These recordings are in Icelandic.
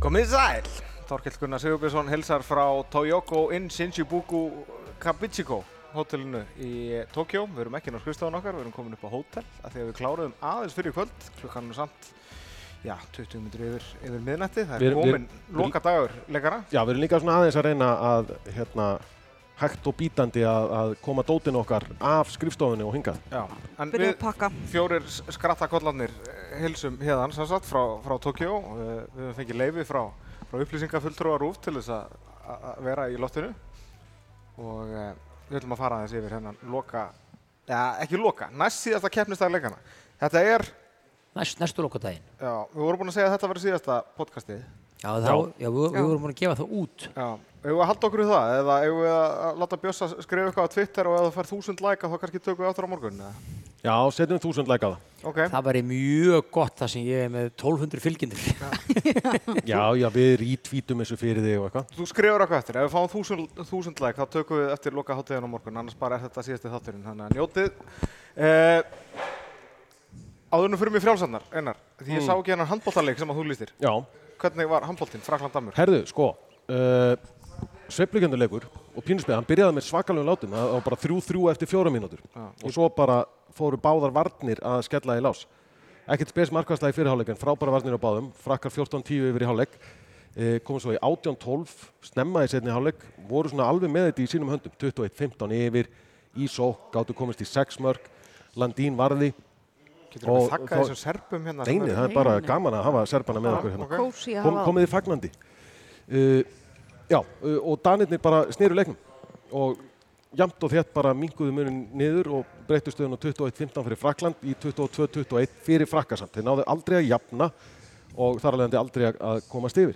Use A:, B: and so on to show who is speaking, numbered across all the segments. A: Komið sæl! Þorkill Gunnar Sigurbjörnsson hilsar frá Toyoko in Shinjubuku Kabichiko hótelinu í Tokjó. Við erum ekki inn á skrifstofan okkar, við erum komin upp á hótel af því að við kláruðum aðeins fyrir kvöld, klukkan er nú samt já, 20 minnur yfir, yfir miðnætti. Það
B: Við
A: er
B: erum- við erum-
A: komin loka dagur leikara.
B: Já, við erum líka svona aðeins að reyna að hérna, hægt og bítandi að, að koma dótin okkar af skrifstofunni og hingað.
A: Já, en
C: Byrja
A: við
C: að pakka.
A: fjórir skrattakollarnir hilsum hérðan sem sagt frá, frá Tokjó. Eh, Við höfum fengið leifi frá, frá upplýsingafulltrúar úr til þess að að- að vera í loftinu og eh, við ætlum að fara aðeins yfir hennan loka, ja, ekki loka, næst síðasta keppnistag leikana. Þetta er,
D: Næst, næstu lokadaginn.
A: já, við vorum búin að segja að þetta verður síðasta podcastið.
D: Já, þá, já. við,
C: Já.
D: við vorum búin að gefa það út.
A: Já, eigum við að halda okkur í það eða eigum við að láta Bjössa skrifa eitthvað á Twitter og ef það fær þúsund læka þá kannski tökum við áttur á morgun, eða?
B: Já, setjum þúsund læk á það.
A: Ok,
D: Það væri mjög gott það sem ég er með 1200 fylgjendur.
B: Já, já, við rítvítum þessu fyrir þig og eitthvað.
A: Þú skrifur eitthvað eftir, ef við fáum þúsund, þúsund like þá tökum við eftir loka hátíðan á morgun, annars bara er þetta síðasti þátturinn, þannig að njótið. Uh, áðurnum fyrir mig frjálsannar, Einar, því
B: Mm.
A: ég sá ekki hennar handbóltarleik sem að þú lýstir.
B: Já,
A: Hvernig var handbóltinn, Frakland-Dammur?
B: herðu, sko, uh, sveiflugjönduleikur og pínuspið, hann byrjaði með svakalegu látum, það var bara þrjú-þrjú eftir fjóra mínútur. Og svo bara fóru báðar varnir að skella í lás. Ekkert spes markværslega í fyrirháleik, en frábæra varnir á báðum, frakkar 14-10 yfir í háleik, e, komum svo í 18-12, snemma í setni háleik, voru svona alveg með þetta í sínum höndum, 21-15 yfir, í sók, gáttu komist í 6 mörg, Landín varði,
A: Getur við
B: og-
A: þakka
B: og-
A: þessum serpum hérna? sem
B: neini,
A: eru?
B: það er bara gaman að hafa serpana með okkur hérna
A: Ok.
C: Kósi að
B: kom,
C: hafa.
B: komið í fagnandi uh, já, uh, og Danirnir bara sneru leiknum og jamt og þétt bara minguðu munin niður og breyttu stöðun á 21-15 fyrir Frakland í 22-21 fyrir Frakkasamt þeir náðu aldrei að jafna og þar alvegandi aldrei að- að komast yfir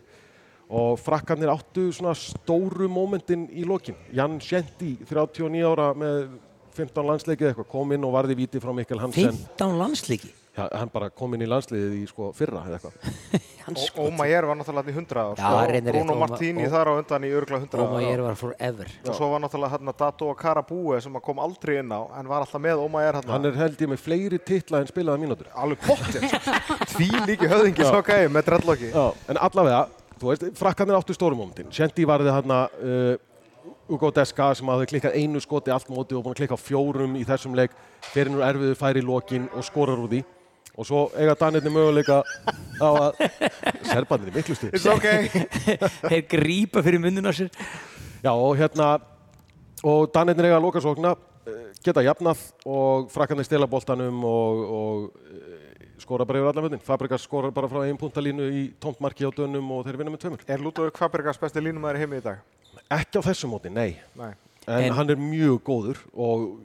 B: og frakkarnir áttu svona stóru mómentin í lokin Jan Sjendi, 39 ára með 15 landsleikið eitthvað, kom inn og varði víti frá Mikkel Hansen
D: 15 landsleiki.
B: ja, hann bara kom inn í landsliðið í sko fyrra eða eitthvað
D: Hans
A: Og Ómajer var náttúrulega þarna í 100 ár,
D: Já,
A: sko,
D: reyndar rétt,
A: Bruno
D: Óma-
A: Martini
D: Ó-
A: þar á undan í örgla 100 ár.
D: Óma ég var forever.
A: Og svo var náttúrulega hérna Dato og Karabúi sem að kom aldrei inn á, en var alltaf með Ómajer hérna.
B: Hann er held ég með fleiri titla en spilaða mínútur.
A: alveg pottir, tví líki höfðingi svo gæði með dreadlocki.
B: Já, en allavega, þú veist, frakkanir áttu stórum momentin. Shendi varði þarna uh, Ugo Deska sem hafði klikkað einu skoti allt móti og búin að klikka á fjórum í þessum leik, fyrir nú erfiðu færi í lokin og skorar úr því. Og svo eiga Danirni möguleika á að... Serbarnir er miklu stið.
A: It's okay.
D: Þeir grípa fyrir munnuna sér.
B: Já, og hérna, og Danirnir eiga að loka sókna, eh, geta jafnað og frakkanir stela boltanum og, og eh, skora bara yfir allan völdin. Fabregas skorar bara frá einn puntalínu í tómt marki á dönum og þeir vinna með tveimur.
A: Er Ludvig Kvabbergas besti línumæður í heimi í dag?
B: Ekki á þessu móti, nei.
A: Nei.
B: En,
D: En-
B: hann er mjög góður og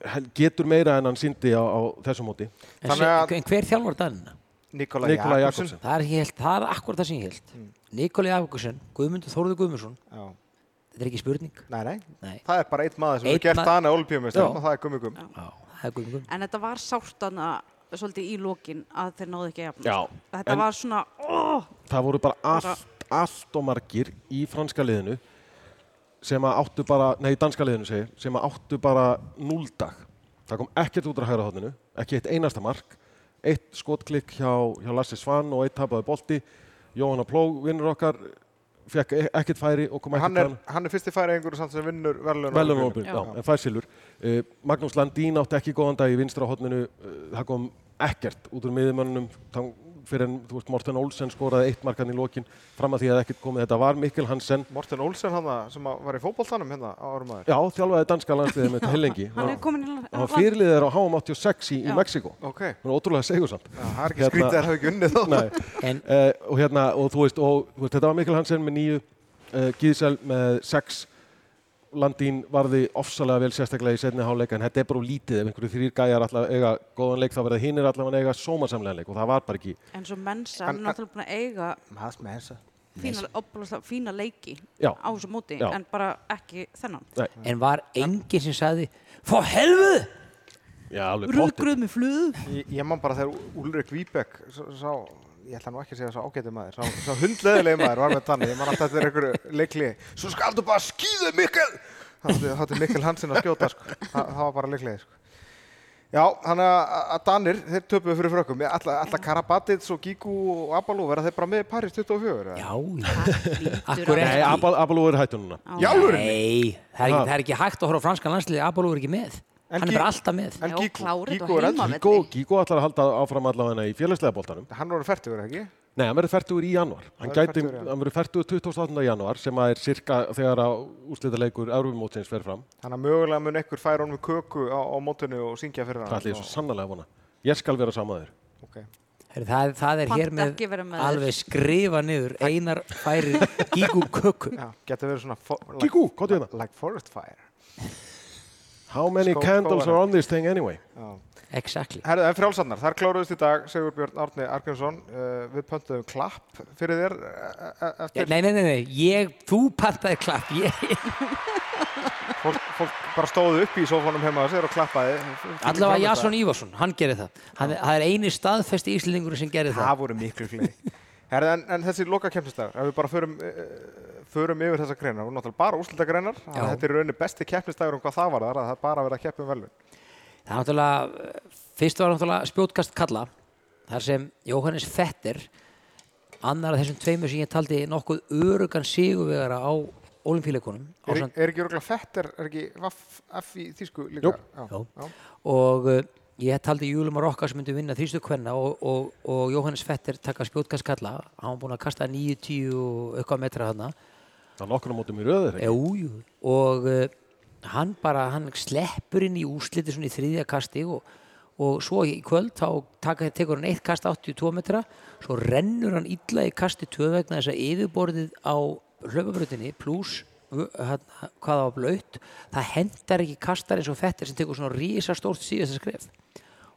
B: hel- getur meira en hann síndi á, á þessu móti.
D: En,
A: Þannig
D: Þannig
A: að-
D: En hver þjálfur danina?
A: Nikola,
B: Nikola
A: Jakobsen.
B: Jakobsen.
D: Það er, ekki helt, það er akkur það sem ég held.
A: Mm.
D: Nikolai Afgursen, Guðmundur Þórður Guðmundsson,
A: Já.
D: þetta er ekki spurning.
A: Nei, nei.
D: Nei.
A: Það er bara eitt maður sem
D: Einn
A: hefur gert
D: maður-
A: það annað olífjömestrum
D: Já.
A: og það er Gummi Gum.
D: Já, það er Guðmundur.
C: En þetta var sártana svolítið í lokin að þeir náðu ekki að jafna.
B: Já,
C: Þetta
B: en-
C: var svona, óh,
B: Það voru bara
C: Bara-
B: allt, allt og margir í franska liðinu sem að áttu bara, nei, í danska liðinu segi, ég, sem að áttu bara núldag. Það kom ekkert út á hægra hóttinu, ekki eitt einasta mark, eitt skotklikk hjá, hjá Lasse Svan og eitt tapaði bolti. Jóhanna Plóg, vinnur okkar, fekk e- ekkert færi og kom ekkert
A: Hann er, hann er fyrsti færiðingur samt sem vinnur verðlun
B: Velunópin,
C: Já.
B: já, en fær silur. Uh, Magnús Landín átti ekki góðan dag í vinstra hodninu, uh, það kom ekkert út úr miðumönnunum fyrir en, þú veist, Morten Olsen skoraði eitt markan í lokin fram að því að ekkert komið, þetta var Mikkel Hansen,
A: Morten Olsen hann að- sem að var í fótballtanum hérna á árum aður.
B: já, þjálfaði danska landsliðið með heilengi.
C: hann er komin í
B: Hann var
C: land.
B: fyrirliðið á HM 86 í,
C: Já.
B: í Mexiko,
A: Ok.
B: hann er ótrúlega segursamt.
A: Já, það er ekki
B: Hérna-
A: skrítið að það hefur ekki unnið þá.
B: Nei,
D: En
B: uh, og hérna, og þú veist, og, þú veist, þetta var Mikkel Hansen með nýju, uh, Gísel með sex, Landín varði ofsalega vel sérstaklega í setni háleik en þetta er bara of lítið ef einhverju þrýr gæjar allavega eiga góðan leik þá verða hinnir allavega eiga sómasamlega leik og það var bara ekki
C: En svo mennsa,
A: En-
C: hann er náttúrulega búin að eiga
A: Maður með þessa.
C: fína, opbúlega, fína leiki
B: Já.
C: á þessu móti,
B: Já.
C: en bara ekki þennan.
D: En var enginn sem sagði Fá helfuð!
B: Já, alveg pottur
C: Rúðgröð með fluðu.
A: Ég, ég man bara þegar Ulrik Víbek sá, sá, ég ætla nú ekki að segja sá ágæti maður, sá, sá hundleðilegi maður var með tanni, ég man alltaf eftir einhverju leikli, svo skaldu bara skýðu Mikkel! Þá átti- þá átti Mikkel Hansen að skjóta, sko. Þa, það var bara leiklið, sko. Já, þannig að- að Danir, þeir töpuðu fyrir frökkum. Alltaf Karabatits og Gigu og Abalú, verða þeir bara með í París 24? eða?
D: Já, já.
C: Lítur
D: Akkur
C: að-
B: Nei, Abal, Abalú er hættur núna.
C: Já.
A: Í alvörunni?
D: Nei, það er, ekki, það er ekki hægt að horfa á franskan landsliði Abalú er ekki með
A: En
D: Hann
A: Gí-
D: er bara alltaf með
A: En
C: Já,
A: Gigu,
C: klárið og
A: Gigu er
C: heima.
A: endur.
B: Gíko, Gíko ætlar að halda áfram allavega í félagslega boltanum.
A: Hann voru færtugur, ekki?
B: Nei, hann verður færtugur í janúar. Hann,
A: Hann verður
B: gæti,
A: fertugur í janúar.
B: hann verður færtugur 28. janúar sem að er cirka þegar að úrslitaleikur Európumótsins fer fram.
A: Þannig að mögulega mun ekkur færa honum köku á, á mótinu og syngja fyrir hann.
B: Það ætla ég svo sannlega að vona. Ég skal vera samaður.
A: Ok.
D: Heru, það, það er
C: Panta
D: hér með,
C: ekki vera með þér.
D: alveg skrifa niður Einar færir Gígu Kökku
A: Já, getur verið svona... fo- like-
B: Gíkú, komdu hérna.
A: Like forest fire.
B: How many
A: Skó-
B: candles
A: skógar.
B: are on this thing anyway?
A: Já.
D: Exactly
A: Herðu, en frjálsannar, þar kláruðust í dag Sigurbjörn Árni Arkinsson, uh, við pöntuðum klapp fyrir þér eh, eh,
D: ja,
A: eftir,
D: Nei, nei, nei, nei, ég, þú pantaði klapp ég,
A: fólk, fólk bara stóðu upp í sófónum heima á sér og klappaði.
D: Allavega Jason Ívarsson, hann gerir það hann, Það er eini staðfesti íslendingur sem gerir það
A: Það voru miklu fleiri. Herðu, en, en þessi loka keppnistag, ef við bara förum, uh, förum yfir þessa greinar, og náttúrulega bara úrslitagreinar, þannig að
D: Já.
A: þetta er í rauninni besti keppnistagur um hvað það var þar, að það er bara að vera að keppa um velun.
D: Það er náttúrulega, eh, fyrst var náttúrulega spjótkast kalla, þar sem Jóhannes Fetter, annar af þessum tveimur sem ég taldi nokkuð örugan sigurvegara á olimpíuleikunum.
A: Er,
D: ásamt-
A: er ekki örgulega fett, er, er ekki vaff, F í þýsku líka?
B: Jú.
A: Já.
D: Já.
A: Já.
D: Og eh, ég taldi Júlum Marokka sem myndi vinna þrýstu kvenna og, og, og Jóhannes Fetter taka spjótkast kalla, hann var búinn að kasta 9-10 og eitthvað metra þarna.
B: Það er nokkurnum mótum í röður.
D: Jú, jú. Og uh, hann bara, hann sleppur inn í úsliti svona í þriðja kasti og, og svo í kvöld þá taka, tekur hann eitt kast 82 metra, svo rennur hann illa í kasti 2 vegna þess að yfirborðið á hlaupabrautinni pluss vö- hérna, hvað það var blöytt, það hendar ekki kastar eins og fettir sem tekur svona risastórt síðasta skref.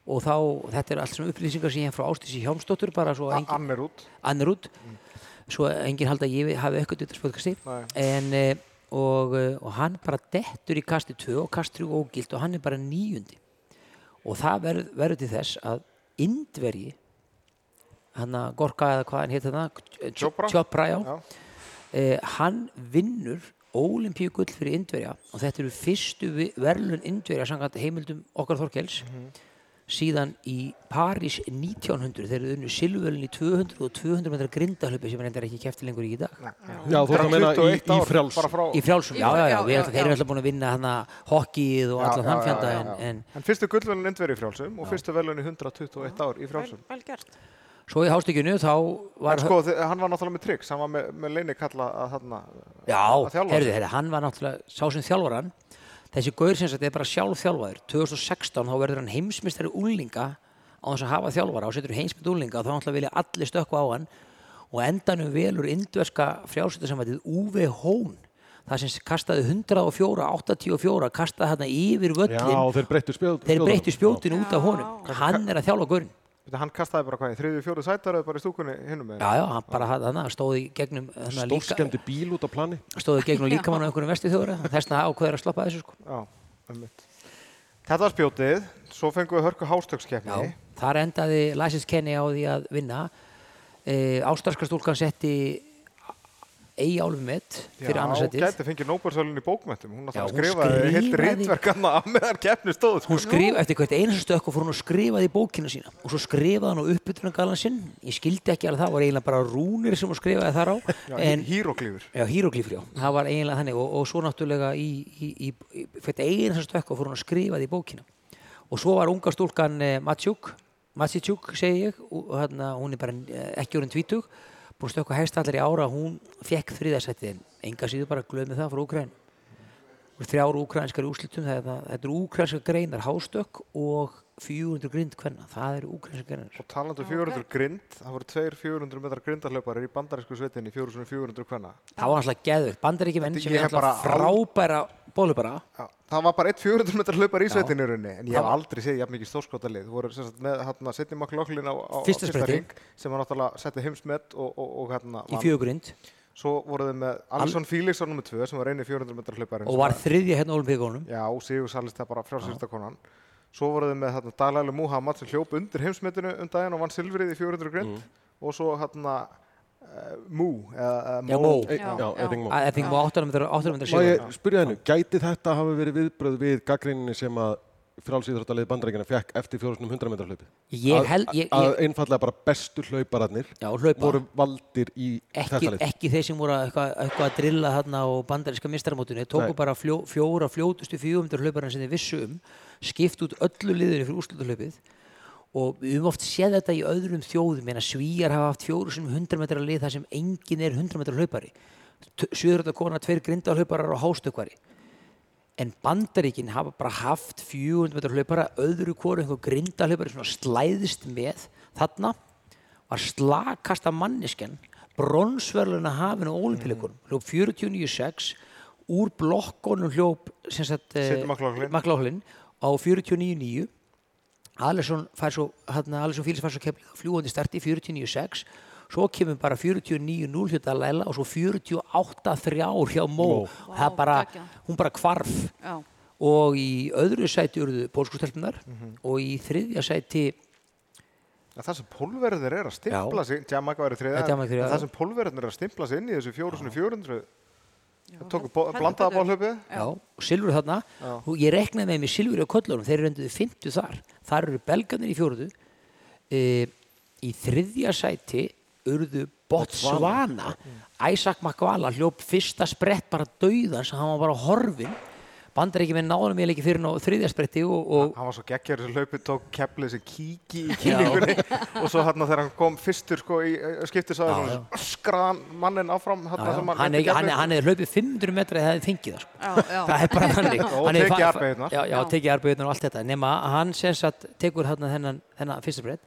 D: Og þá, þetta er allt sem upplýsingar sem ég hef frá Ástísi Hjálmsdóttur bara svo
A: A-
D: engin
A: Ann er út.
D: annar út svo enginn haldi að ég hafi eitthvað þetta spöðkasti
A: Nei.
D: en eh, og, eh, og hann bara dettur í kasti 2 og kasti 3 ógilt og hann er bara nýjundi og það verð- verður til þess að indverji hann að Gorka eða hvað hann hétt þarna
A: Chopra.
D: Chopra já,
A: Já.
D: Eh, hann vinnur ólimpíugull fyrir indverja og þetta eru fyrstu vi- verðlaun indverja samkvæmt heimildum okkar Þorkels
A: Mhm.
D: síðan í París 1900 þeir eru unnu silvölin í 200 og 200 metra grindahlaupi sem er endur ekki kefti lengur í í dag
B: Já, þú ert að meina í,
A: 21
B: í
A: ár,
B: frjáls.
A: bara frá-
D: í frjálsum,
C: Í
D: já,
C: frjál-
D: já, já,
C: já,
D: við
C: já,
D: erum, þeir eru
C: já.
D: alltaf búin að vinna hana hokkið og allan þann fjanda en, en
A: en fyrstu gullvelun indveri í frjálsum og fyrstu velun í 121 ár í frjálsum
C: Vel gert.
D: svo í hástökjunu þá var
A: en sko, þi- hann var náttúrulega með tryggs hann var með, með leini kalla að þarna
D: já,
A: að þjálfa.
D: heyrðu, heyrðu, hann var náttúrulega sá sem þjálfar hann þessi gaur sem sagt er bara sjálf þjálfaður 2016 þá verður hann heimsmystari úlinga á þess að hafa þjálfara og setur heimsmynd úlinga þá náttúrulega vilja allir stökkva á hann og á endanum velur indverska frjálsutasamvætið Uwe Hón það sem kastaði 104, 84 kastaði hérna yfir
B: Já,
D: völlin
B: þeir breyttu spjóð.
D: þeir breyttu
B: spjóðunum.
D: spjótin út af honum hann er að þjálfa gaurinn
A: Veitu, hann kastaði bara hvað í þriðju, fjóru sætar eða bara í stúkunni hinnum með
D: Já, já, hann bara hann stóði gegnum hana, líka,
B: Stórskemdi bíl út á plani.
D: stóði gegnum líkamann á einhverjum vestið þjóra þessna ákveður að slappa af þessu sko.
A: já, einmitt. þetta var spjótið svo fengum við hörku hástökskeppni
D: Eh, Þar endaði Læsins Kenny á því að vinna e, Ástarska stúlkan setti eigi álfumett fyrir annarsettið
A: gæti fengið Nóbelsölun í bókmöntum hún,
D: Já,
A: já,
D: hún
A: skrifaði heilt
D: skrifaði-
A: rítverkanna af meðan keppni stóð sko.
D: Hún skrif, eftir hvert einastu stökk og fór hún að skrifa því bókina sína og svo skrifaði hann á uppbytunargalan sinn ég skildi ekki alveg það, var eiginlega bara rúnir sem hún skrifaði þar á
A: Já,
D: en,
A: hýroklífur
D: Já, hýroglífur, já. Það var eiginlega þannig og, og svo náttúrulega í, í, í, í fyrir eigin sem stökk og fór hún að skrifa því í bókina. Og svo var unga stúlkan eh, Matsjúk, Matsjúk segi ég, og hérna, hún er bara eh, ekki orðin tvítug, búin að stökka hægst allar í ára, hún fekk þriðarsætti en enga síður bara glöð með það frá Úkræn. Þrjár úkrænskar í úrslitum, það, er það, þetta eru úkrænskar greinar hástökk og 400 grind hvenna, það eru úkrænskar greinar.
A: og talandu 400 grind það voru tveir 400 metrar grindahlauparir í bandarísku sveitinni 4400 kvenna
D: Það var alltaf geðvögt, bandaríkjumenn
A: Þetta-
D: sem
A: ég
D: er
A: hef
D: alltaf
A: bara al-
D: frábæra bólubara.
A: Já, það var bara eitt 400 metrar hlaupar í
D: Já.
A: sveitinni í rauninni, en ég
D: Það
A: hef
D: var-
A: aldrei séð jafn mikið stórskotalið, þú voru sem sagt með hérna setni maklokklin á, á á
D: Fyrsta spretti.
A: hring sem var náttúrulega setti heimsmet og, og, og hérna
D: Í
A: vann.
D: fjögurgrind
A: svo voru þau með Alisson Felix á nummer 2 sem var eini 400 metrar hlauparinn
D: og
A: sem
D: var þriðja hérna á olimpíukonum
A: já, og Sigur Salist það bara frjálsýrsta konan svo voru þau með hérna Dalali Muhammad sem hljóp undir heimsmetinu um daginn og vann silfrið í 400 grind
D: Mm.
A: og svo hérna uh, Mú eða
D: Já,
A: uh,
D: Mo.
B: Já, já,
C: Já, já.
B: ég þingum á.
D: að það fengum við 800 metrar 800 metrar
B: Má
D: sigur
B: ég spyrja hennu, gæti þetta hafa verið viðbröð við gaggrinni sem að frjálsýþróttalið bandarækina fekk eftir fjórusnum 100 metra hlaupið.
D: Ég held-
B: Að-
D: ég- ég-
B: Að einfallega bara bestu hlaupararnir
D: Já, hlaupa.
B: voru valdir í
D: ekki,
B: þetta lið.
D: ekki þeir sem voru að- eitthvað, eitthvað að drilla þarna á bandaríska mistaramótinu tóku
B: Nei.
D: bara fljó, fjóra fljótustu 400 hlauparinn sem þeir vissu um skipt út öllu liðinu fyrir úrslutahlaupið og við höfum oft séð þetta í öðrum þjóðum en að svíjar hafa haft fjóru sem 100 metra lið þar sem engin er 100 metra hlaupari Sjöðurölda kona, tveir grindahlauparar og hástökkvari en bandaríkin hafa bara haft 400 metra hlaupara öðru koru einhver grindahlaupari svona slæðist með þarna var slakasta manneskjan bronsverðluna hafin á olimpíuleikunum hljóp 49.6 úr blokkonum hljóp sem sagt, eh,
A: Sidney McLaughlin.
D: McLaughlin á 49.9 Alisson fær svo hérna, Alisson Fílis fær svo kemla fljúandi starti 49.6 svo kemur bara 49.0 hjá Dalela og svo 48.3 hjá Mó
B: Mó.
D: það
C: Vá,
D: bara,
C: geggjað.
D: hún bara kvarf
C: já,
D: og í öðru sæti urðu pólskustelpunar
A: Mhm.
D: og í þriðja sæti
A: En það sem pólverðir er að stimpla
D: Já.
A: sig, Jamaica væri þriða,
D: Ja, Jamaica þriðja,
A: en það
D: já.
A: sem pólverðir er að stimpla sig inn í þessu 400-400,
C: já
A: það tóku
C: hel-
A: bó-
C: heldur
A: blandaða
C: betur.
A: bólhlaupið,
D: já, og Silfur þarna
A: Já.
D: og ég reknaði með mig Silfur á köllunum þeir eru endur 50 þar þar eru belgarnir í fjóruðu e, í þriðja sæti urðu Botswana Mm. Isaac Makvala hljóp fyrsta sprett bara dauðan sem hann var bara horfin bandar ekki með náðanum ég ekki fyrir hann á þriðja spretti og, og
A: hann var svo geggjör þessu hlaupi, tók keflið sem kíki í kýlingunni og svo hann þegar hann kom fyrstur sko í skipti
D: Já,
A: sagði hann skraðan mannin áfram hann
D: Já, já,
A: sem
D: hann, er, ekki-
A: reyndi
D: hann,
A: keflið.
D: hann er hlaupið 500 metra eða það hefði fengið það sko.
C: já, já.
D: það er bara þannig
A: Og
D: Hann
A: tekið
D: hefur fa-
A: arbeiðirnar.
D: já, já,
C: Já.
D: tekið arbeidnar og allt þetta nema að hann sem sagt tekur þarna þennan, þennan fyrsta breytt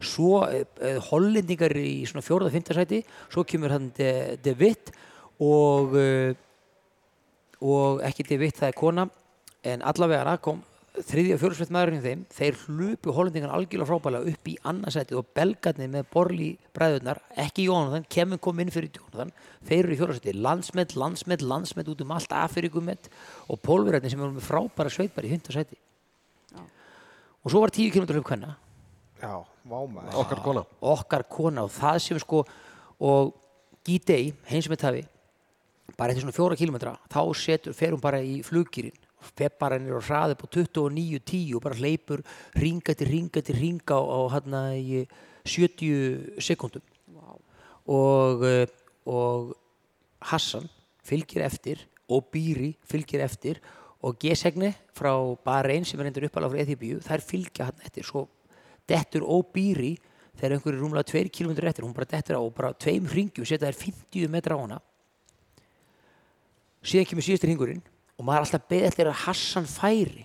D: svo uh, hollendingar í svona fjóruða fintasæti svo kemur hann De, de Witt og uh, og ekki De Witt það er kona en allavega hann kom þriðja og fjóruðsveit maðurinn hjá þeim þeir hlupu hollendingan algjörlega frábælega upp í annarsæti og belgarnir með borli bræðurnar, ekki Jónathan, kemur kom inn fyrir Jónathan, þeir eru í fjóruðsveiti landsmet, landsmet, landsmet út um allt Afrikumet og pólverðarnir sem eru með frábæra sveitbar í hundarsæti
C: Já.
D: og svo var 10 km hlup hvenna
A: Já, vámaður.
B: Okkar kona.
D: okkar kona og það sem sko og Gidei, heim sem er tafi bara eftir svona fjóra kílometra þá setur, fer hún bara í fluggýrin fer bara niður og hraði upp á 29.10 og bara hleypur ringa til ringa til ringa á, á hérna í 70 sekundum og, eh, og Hassan fylgir eftir og Bíri fylgir eftir og Gesegne frá Bahrein sem er endur uppalega frá Eþibíu, þær fylgja hann eftir svo dettur og Bíri þegar einhverju rúmlega 2 km eftir hún bara dettur á og bara tveim ringjum setja þær 50 metra á hana síðan kemur síðastir hringurinn og maður er alltaf beðið eftir að Hassan færi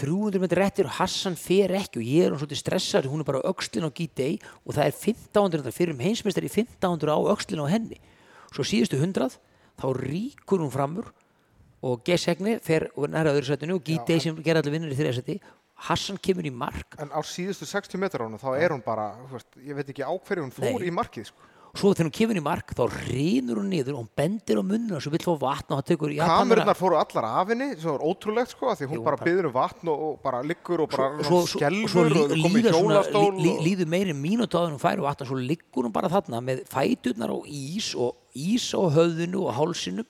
D: 300 metri réttir og Hassan fer ekki og ég er hann svolítið stressað hún er bara á öxlin á Gidei og það er 1500 það fyrir um heimsmeistari 1500 á öxlin á henni svo síðustu 100 þá ríkur hún framur og Gesegni fer og næra öðru sætinu og Gidei sem gerir allir vinnur í þriðja sæti Hassan kemur í mark
A: En á síðustu 60 metrónu þá er hún bara, þú veist, ég veit ekki á hverju hún fór
D: Nei.
A: í markið sko.
D: svo þegar hún kemur í mark þá rínur hún niður og hún bendir á munna svo vill fá vatn og hann tekur
A: Kamerunnar fóru allar af henni, sem var ótrúlegt sko, af því hún
D: Jú,
A: bara
D: bara-
A: byður um vatn og, og bara liggur og bara
D: svo, svo,
A: skelfur
D: svo lí,
A: og komið í
D: líður svona,
A: hjólastól.
D: lí, lí,
A: og-
D: líður meiri mínutáður hún fær og vatna, svo liggur hún bara þarna með fæturnar á ís og ís á höfðinu og hálsinum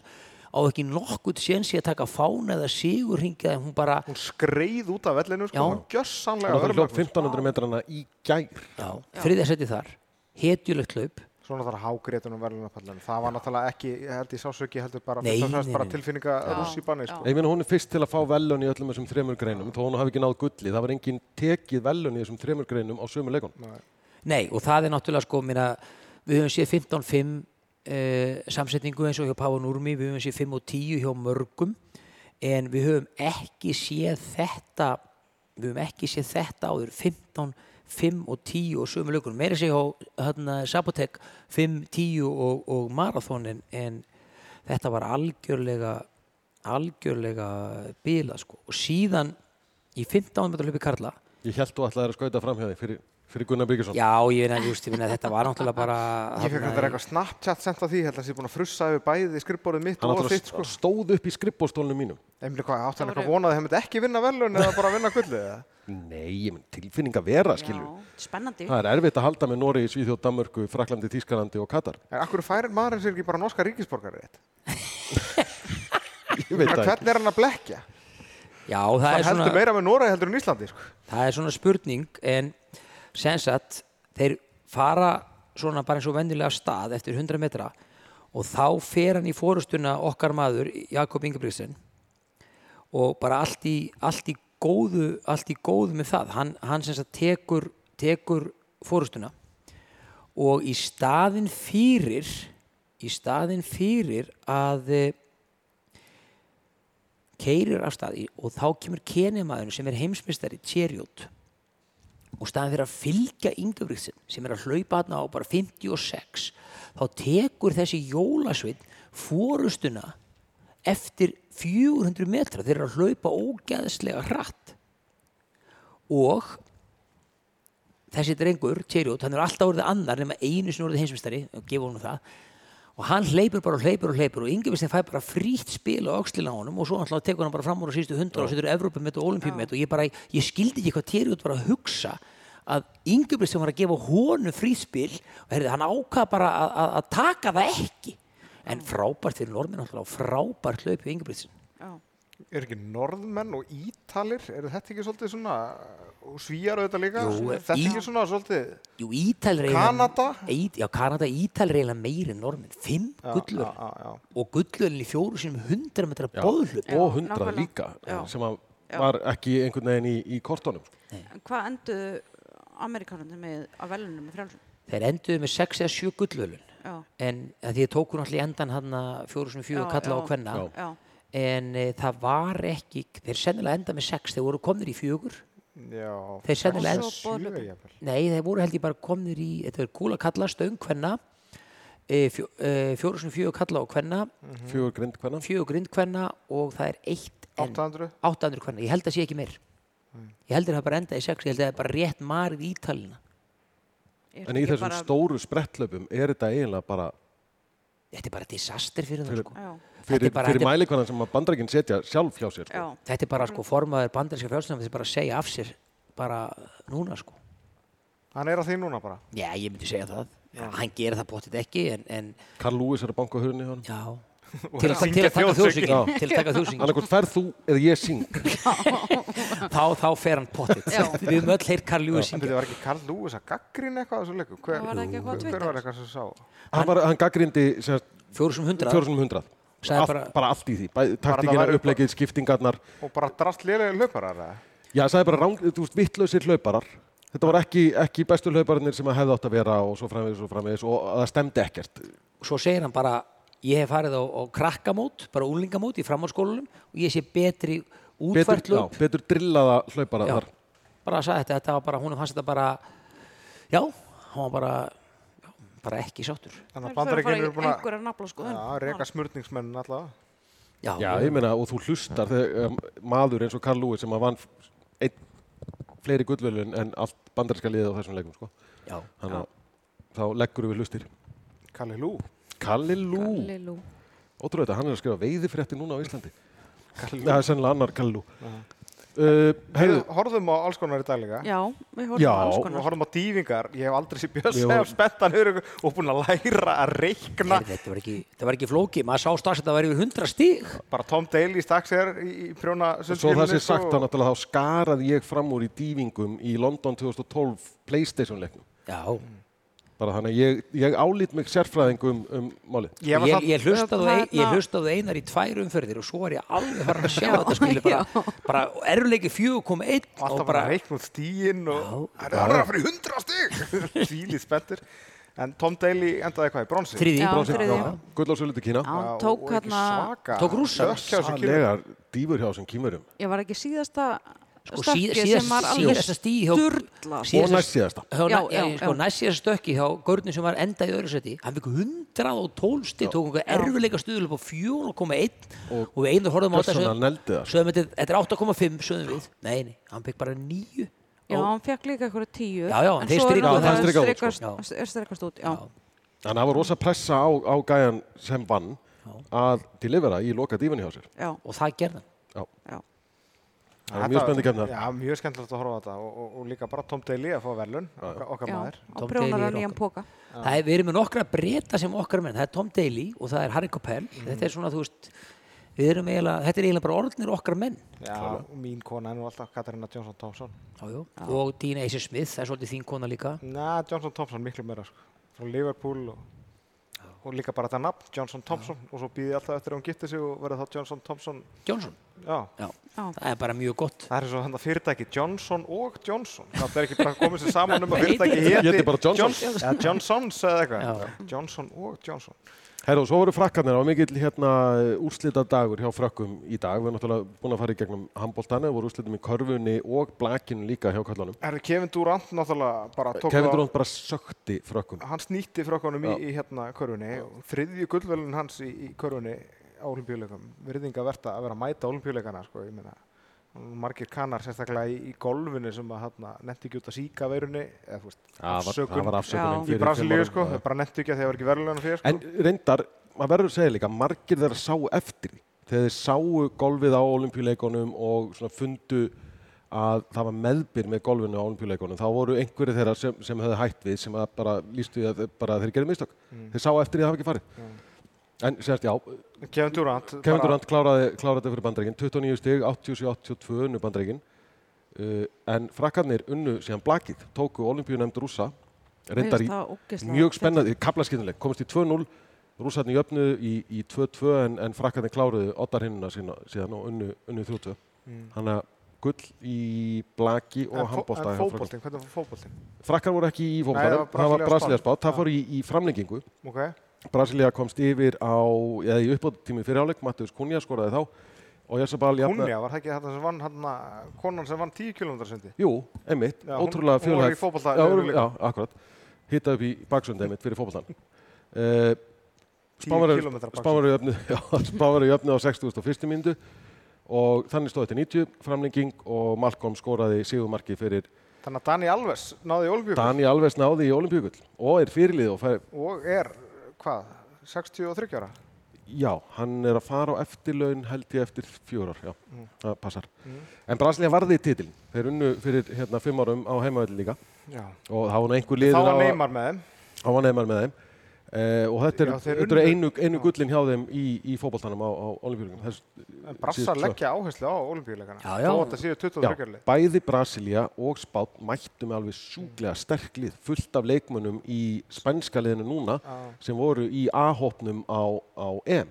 D: á ekki nokkurt séns í að taka fána eða sigurringja en hún bara
A: hún skreið út af vellinu sko,
D: Já.
A: hún gjössanlega
B: Þannig að það hljóp
A: örmagna.
B: 1500 metrana í gær.
D: já, þriðja seti þar, hetjulegt hlaup
A: Svona þar hágrétunum verðlunarpallinu. Það var náttúrulega ekki, ég held ég sásöki, heldur bara,
D: Nei,
A: fyrst og fremst
D: nei,
A: bara
D: nei.
A: tilfinninga
C: Já,
A: rússi banni
C: já.
A: sko.
B: Ég meina hún er fyrst til að fá velun í öllum þessum þremur greinum, þó hún hafi ekki náð gulli. Það var enginn tekið velun í þessum þremur greinum á sömu leikunum.
D: Nei, og það er náttúrulega sko, minna, við höfum séð 15-5 uh, samsetningu eins og hjá Pávan Úrmi, við höfum séð 5 og 10 hjá mörgum, en við höfum ekki séð þetta, við höfum ekki séð þetta áður, 15, 5 og 10 og sömu lögunum, meira séð hjá hérna, Sabotek 5, 10 og, og Marathon, en, en þetta var algjörlega, algjörlega bilað sko, og síðan í 15 metra hlupi Karla,
B: Ég held þú ætlaði að skauta framhjáði fyrir, fyrir Gunnar Bryggjesson.
D: Já, ég veit að, just, ég veit að þetta var náttúrulega bara
A: Ég fekk þetta eitthvað Snapchat sent af því, held að það sé búin að frussa yfir bæði skrifborðið mitt
B: Hann
A: og
B: náttúrulega
A: þitt sko.
B: stóð upp í skrippbólstólunum mínum.
A: Emil, hvað, átti hann
C: Það
A: eitthvað
C: voru-
A: vonað að þeim myndi ekki vinna velun eða bara vinna gullið? eða?
B: Nei, ég menn tilfinning að vera, skilju.
C: Já, spennandi
B: Það er erfitt að halda með Nóri, Svíþjóð, Danmörku, Fraklandi, Tískalandi og Katar.
A: En akkur færir maðurinn sér ekki bara um norska ríkisborgari rétt?
B: Ég veit það ekki.
A: Hvernig er hann að blekja?
D: Já, það,
A: Það
D: er
A: heldur
D: svona,
A: meira með Noregi heldur en Íslandi sko.
D: það er svona spurning en sensat þeir fara svona bara eins og venjulega af stað eftir 100 metra og þá fer hann í fórustuna okkar maður Jakob Ingebrigtsen og bara allt í, allt í góðu allt í góðu með það hann, hann sem sagt tekur, tekur fórustuna og í staðin fyrir í staðin fyrir að eh, keirir af staði og þá kemur keniamaðurinn sem er heimsmystari Tjerjót og staðin fyrir að fylgja Ingebrigtsen sem er að hlaupa hann á bara 56 þá tekur þessi jólasvinn fórustuna eftir 400 metra þeir eru að hlaupa ógeðslega hratt og þessi drengur, Tjerjót, hann er alltaf orðið annar nema einu sem orðið heimsmystari og gefa honum það og hann hleypur bara og hleypur og hleypur og Ingebrigtsen fær bara frítt spil á öxlina á honum og svo alltaf tekur hann bara fram úr á síðustu hundra og setur Evrópumett og Olimpíumett og ég bara, ég skildi ekki hvað Tjerjót var að hugsa að Ingebrigtsen var að gefa honum frítt spil og heyrði, hann ákvað bara að, að, að taka það ekki en frábært fyrir normin alltaf frábært hlaupið Ingebrigtsen
C: já.
A: Er ekki norðmenn og ítalir eru þetta ekki svolítið svona og svíjar auðvitað líka
D: Jú,
A: Er þetta
D: í-
A: ekki svona svolítið
D: Jú, Ítalir eiginlega-
A: Kanada?
D: Ít, Já, Kanada, Ítalir eiginlega meiri en normin Fimm
A: Já,
D: gullvöld
A: já, já, já.
D: og gullvölin í fjóru sinum hundra metra
B: Já.
D: bóðhlup
B: og hundrað
C: nákvæmlega.
B: líka
C: Já.
B: sem að
C: Já.
B: var ekki einhvern veginn í, í kortunum
C: En hvað enduðu Amerikanarnir með að velunum með frjálsum?
D: Þeir enduðu með sex eða sjö gullvölin
C: Já,
D: en að því ég tók hún allir endan hann fjóru sinum fjóru
C: Já, já.
D: kalla og kvenna
B: Já.
C: já,
D: en e, það var ekki þeir sennilega enda með sex, þeir voru komnir í fjögur
A: já.
D: Þeir sennilega
A: Sjö,
C: Og svo boðhlaup.
A: jafnvel.
D: Nei, þeir voru held ég bara komnir í þetta er kúla kalla, stöng kvenna e, fjó, e, fjóru sinum fjóru kalla og kvenna
B: fjögur grind hvernig
D: fjögur grindkvenna og það er eitt enn
A: 800
D: 800 kvenna, ég held að sé ekki meir
B: Mm.
D: ég held að það bara enda í sex ég held að það er bara rétt marið í ítalina
C: Ég
B: en í
C: held ekki
B: þessum stóru sprettlöpum er þetta eiginlega bara
D: þetta er bara disaster fyrir það
B: Fyrir-
D: sko.
C: Já,
D: þetta
B: fyrir,
D: er bara,
B: fyrir
D: þetta er,
B: mælikvarðan sem að bandrækinn setja sjálf hjá sér
C: já,
B: sko.
D: þetta er bara sko formaður bandarinska fjálsnafn þetta er bara að segja af sér bara núna sko
A: Hann er að því núna bara
D: já ég myndi segja það, hann gerir það bóttið ekki en, en
B: Carl Lewis er að banka hurni hann
D: já
A: Og
D: til
A: er
D: að,
A: að
D: til
A: syngja
D: að taka þjóðsökin
B: þjóðsönginn.
D: til að taka þjóðsökin
B: annarkvort ferð þú eða ég syng
D: þá, þá fer hann pottið
C: Já.
D: við höfum öll heyr Karl Lewis
A: En
D: syngja
A: þetta var ekki Karl Lewis að gaggrinn eitthvað á þessu leiku
C: Það var það ekki eitthvað á
A: hver
C: Twitter?
A: var eitthvað sem sá
B: hann, var, hann gaggrindi
D: fjóru sem hundrað
B: 400
D: Sagði
B: Allt, bara,
D: bara-
B: bara allt í því, Bæði taktíkina,
A: væri-
B: upplegið, skiptingarnar
A: og bara drast lélega löparar
B: Já, það er bara rang, þú veist, vittlausir hlauparar. Þetta voru ekki, ekki bestu hlauparinnir sem að hefði átt að vera og svo framvegis og framvegis og það stemdi ekkert.
D: svo segir hann bara ég hef farið á, á krakkamót, bara úlingamót í framhaldsskólanum og ég sé betri
B: Betur, já,
D: útfærtlöp
B: betur drillaða hlaupara
D: Já,
B: þar.
D: bara að sagði þetta, þetta var bara, hún fannst þetta bara já, hún var bara já, bara ekki sáttur
A: þannig að
C: Þeir
A: bandaríkinn
C: þurfa
A: eru
C: að
A: búin
C: fara í
A: að
C: einhverja nafla sko
A: Já, reka smurningsmenn allavega
D: já,
B: Já, ég meina, og þú hlustar þegar um, maður eins og Karl Lúi sem að vann f- einn fleiri gullvölun en allt bandarinska liðið á þessum leikum, sko.
D: já.
B: Þannig að þá leggur við hlustir.
A: Kalli Lú
B: Kalli Lú,
C: Lillú
B: ótrúið þetta, hann er að skrifa veiðifrétti núna á Íslandi.
A: Kalli
B: Það er sennilega annar Kalli Lú. Uh,
A: Við
B: heyrðu,
A: horfðum á alls konar í dag líka
C: Já, við
B: Já.
C: horfum á alls
A: Við
C: konar
A: horfðum á dýfingar, ég hef aldrei sér
B: Við
A: bjössi
B: horfum-
A: og spenntan yfir ykkur og búin að læra að reikna
D: Herði, þetta, var ekki, þetta var ekki flóki, maður sá strax að þetta var yfir 100 stíg
A: bara Tom Daly stakk sér í í prjóna
B: Svo það
A: sundskýlunni,
B: sé sagt þá
A: sko,
B: náttúrulega þá skaraði ég fram úr í dývingum í London 2012 Playstation leiknum.
D: já,
B: Bara þannig að ég, ég álít mig sérfræðingu um, um málið.
A: Ég,
D: ég, ég hlustaði á ein- ég
C: Þarna-
D: hlustaði á einar í tvær umferðir og svo var ég alveg farin að sjá þetta skilja bara, bara eruleiki 4.1
A: og alltaf
D: og
A: bara
D: bara,
A: reikn út stíin og
D: Já.
A: það er bara að fyrir hundra stík svílið spenntir en Tom Daly endaði hvað í bronsi
D: þriði,
C: Já,
D: bronsi,
C: þriðji.
D: já.
B: Gull á sölutu Kína.
C: Já, hann tók hérna
D: Tók Rússa.
A: rússar
B: Sannlegar dýfur hjá þessum kímurum.
C: Ég var ekki síðasta
D: sko,
C: stakki
D: síð,
C: sem var
D: síðast,
C: alveg
D: síðasta stíð hjá
C: sturla
D: síðasta-
B: Og næst síðasta.
D: hjá,
C: Já,
D: já, já,
C: já,
D: sko,
C: já.
D: næst síðasta stökki hjá Görnum sem var enda í öðru seti hann fikk 112 stíð, tók einhver erfileika stuðul upp á 4,1 og,
B: Og
D: við einnig horfum á þetta
B: Björnsson hann
D: sögðum-
B: neldi það. sko.
D: sögðum þetta þetta er 8,5 sögðum við, nei, nei, hann fikk bara 9
C: Já,
D: og,
C: hann fekk líka einhverju tíu
D: Já, já, en þeir strikuðu
B: það. Já, þeir strikuðu út,
C: strikast,
D: sko.
C: strikast, strikast út já.
B: En það var rosa pressa á, á gæjan sem vann að delivera í loka dýfunni hjá sér.
C: Já,
D: og það gerði hann
B: Já.
C: já,
B: Það er mjög spennandi kemnar.
A: Já, mjög skemmtilegt að horfa á þetta og, og, og líka bara Tom Daly að fá verðlun okkar, okkar
C: já.
A: maður.
C: Á
D: Tom Daly
C: prjónar
D: er
C: að nýjan
D: okkar.
C: póka
D: það
B: Mhm.
D: er, við erum með nokkra breyta sem okkar menn, það er Tom Daly og það er Harry Coppell þetta er svona, þú veist við erum eiginlega, þetta er eiginlega bara orðnir okkar menn
A: Já, og mín kona er nú alltaf Katarina Johnson Thompson.
D: já, já. og Dean Acer Smith, það er svolítið þín kona líka
A: Na, Johnson Thompson miklu meira sko. Frá Liverpool og, og líka bara þetta nafn, Johnson Thompson. Og svo býði alltaf eftir að hún gitti sig og verði þá Johnson Thompson.
D: Johnson,
A: Já,
D: já,
C: Já.
D: það er bara mjög gott
A: það er svo þetta fyrirtæki Johnson og Johnson. Það er ekki bara komið sér saman um að
D: Hvað heitir
A: fyrirtæki
B: þetta?
A: héti
B: Héti bara
A: John,
B: Johnson.
A: ja, Johnsons eða eitthvað.
D: Já.
A: Johnson og Johnson.
B: Herra, og svo voru frakkarnir á mikill hérna úrslita dagur hjá frakkum í dag. Við erum náttúrulega búin að fara í gegnum handbóltana, voru úrslitum í körfunni og blakinu líka hjá kallunum.
A: Er Kevin Durant náttúrulega bara tók
B: Kevin
A: það-
B: Durant bara sökti frakkum.
A: hann snýtti frá konum í,
B: Já.
A: í hérna körfunni og þriðju gullvelun hans í, í körfunni á olimpíuleikum virðinga verta að vera að mæta olimpíuleikana sko, ég meina margir kannar sérstaklega í, í golfinu sem að hérna netti ekki út að síka veirunni eða þú veist
B: Það var, það var
C: Já.
B: afsökunum
A: í Brasilíu sko, þau bara netti ekki að þeir var ekki verðlunum fyrir sko.
B: En reyndar, maður verður að segja líka, margir þeirra sá eftir því. Þegar þeir sáu golfið á olimpíuleikunum og svona fundu að það var meðbyr með golfinu á olimpíuleikunum, þá voru einhverju þeirra sem, sem höfðu hætt við sem að bara lístu að þeir, bara, þeir gerði
A: Mm.
B: mistök. Þeir sá eftir því að það hafa ekki farið. En sérst, já,
A: Kevin Durant
B: Kevin
A: bara-
B: Durant kláraði, kláraði þetta fyrir bandaríkin 29 stig, 87-82 unnu bandaríkin uh, en frakkarnir unnu síðan blakið, tóku olimpíunemnd rúsa reyndar í mjög spennandi kaplaskipnuleg, komist í 2-0 rússarnir jöfnuðu í, í 2-2 en, en frakkarnir kláruðu oddar hinnuna sína, síðan og unnu, unnu 3-2
A: Mm.
B: hann að gull í blaki
A: En
B: og
A: fó-
B: handbólta
A: en
B: hjá frökkum.
A: fótboltinn, hvernig var fótboltinn?
B: frakkar voru ekki í
A: Nei, það
B: fókbalum,
A: var
B: það
A: Brasilía
B: var
A: Spán.
B: brasilega spátt
A: Já.
B: það fór í, í framlengingu
A: ok,
B: Brasilia komst yfir á, eða í uppbóttími fyrirháleik, Mattius Kunja skoraði þá og Jessabal
A: Kunja, var það ekki þetta sem vann hérna, konan sem vann 10 km sundi
B: Jú, einmitt,
A: Já, hún-
B: ótrúlega
A: hún var í
B: fjölhæf
A: fótbolta-
B: já,
A: leiðinni líka.
B: já, akkurat, hitta upp í baksundi einmitt fyrir fótboltan uh,
A: 10 km baksundi
B: Spávaru jöfnu já, Spávaru jöfnu á 61. mínútu og þannig stóð þetta 90 framlenging og Malcolm skoraði síðumarki fyrir
A: þannig að Dani Alves náði í olbjörn
B: Dani Alves náði í olimpíugull og er fyrirlið og fær,
A: og er, hvað, 63 ára
B: já, hann er að fara á eftirlaun held ég eftir fjórar, já,
A: Mm.
B: það passar
A: Mm.
B: en Brasilia varði titil, þeir unnu fyrir hérna fimm árum á heimavelli líka
A: Já.
B: og það var nú einhver
A: Þá
B: liður
A: var
B: á að-
A: Neymar með þeim.
B: hann var neymar með þeim uh, og þetta er,
A: Já, þeir
B: þetta
A: unnu-
B: er einu, einu
A: já.
B: gullin hjá þeim í, í fótboltanum á, á olimpíuleikum
A: En Brassar leggja áherslu á olimpíuleikana.
D: Já, já.
A: Þó að það séu 23 leik.
B: bæði Brasilia og Spát mættu með alveg sjúklega sterklið fullt af leikmönnum í spænska liðinu núna
A: Já.
B: sem voru í A-hópnum á, á EM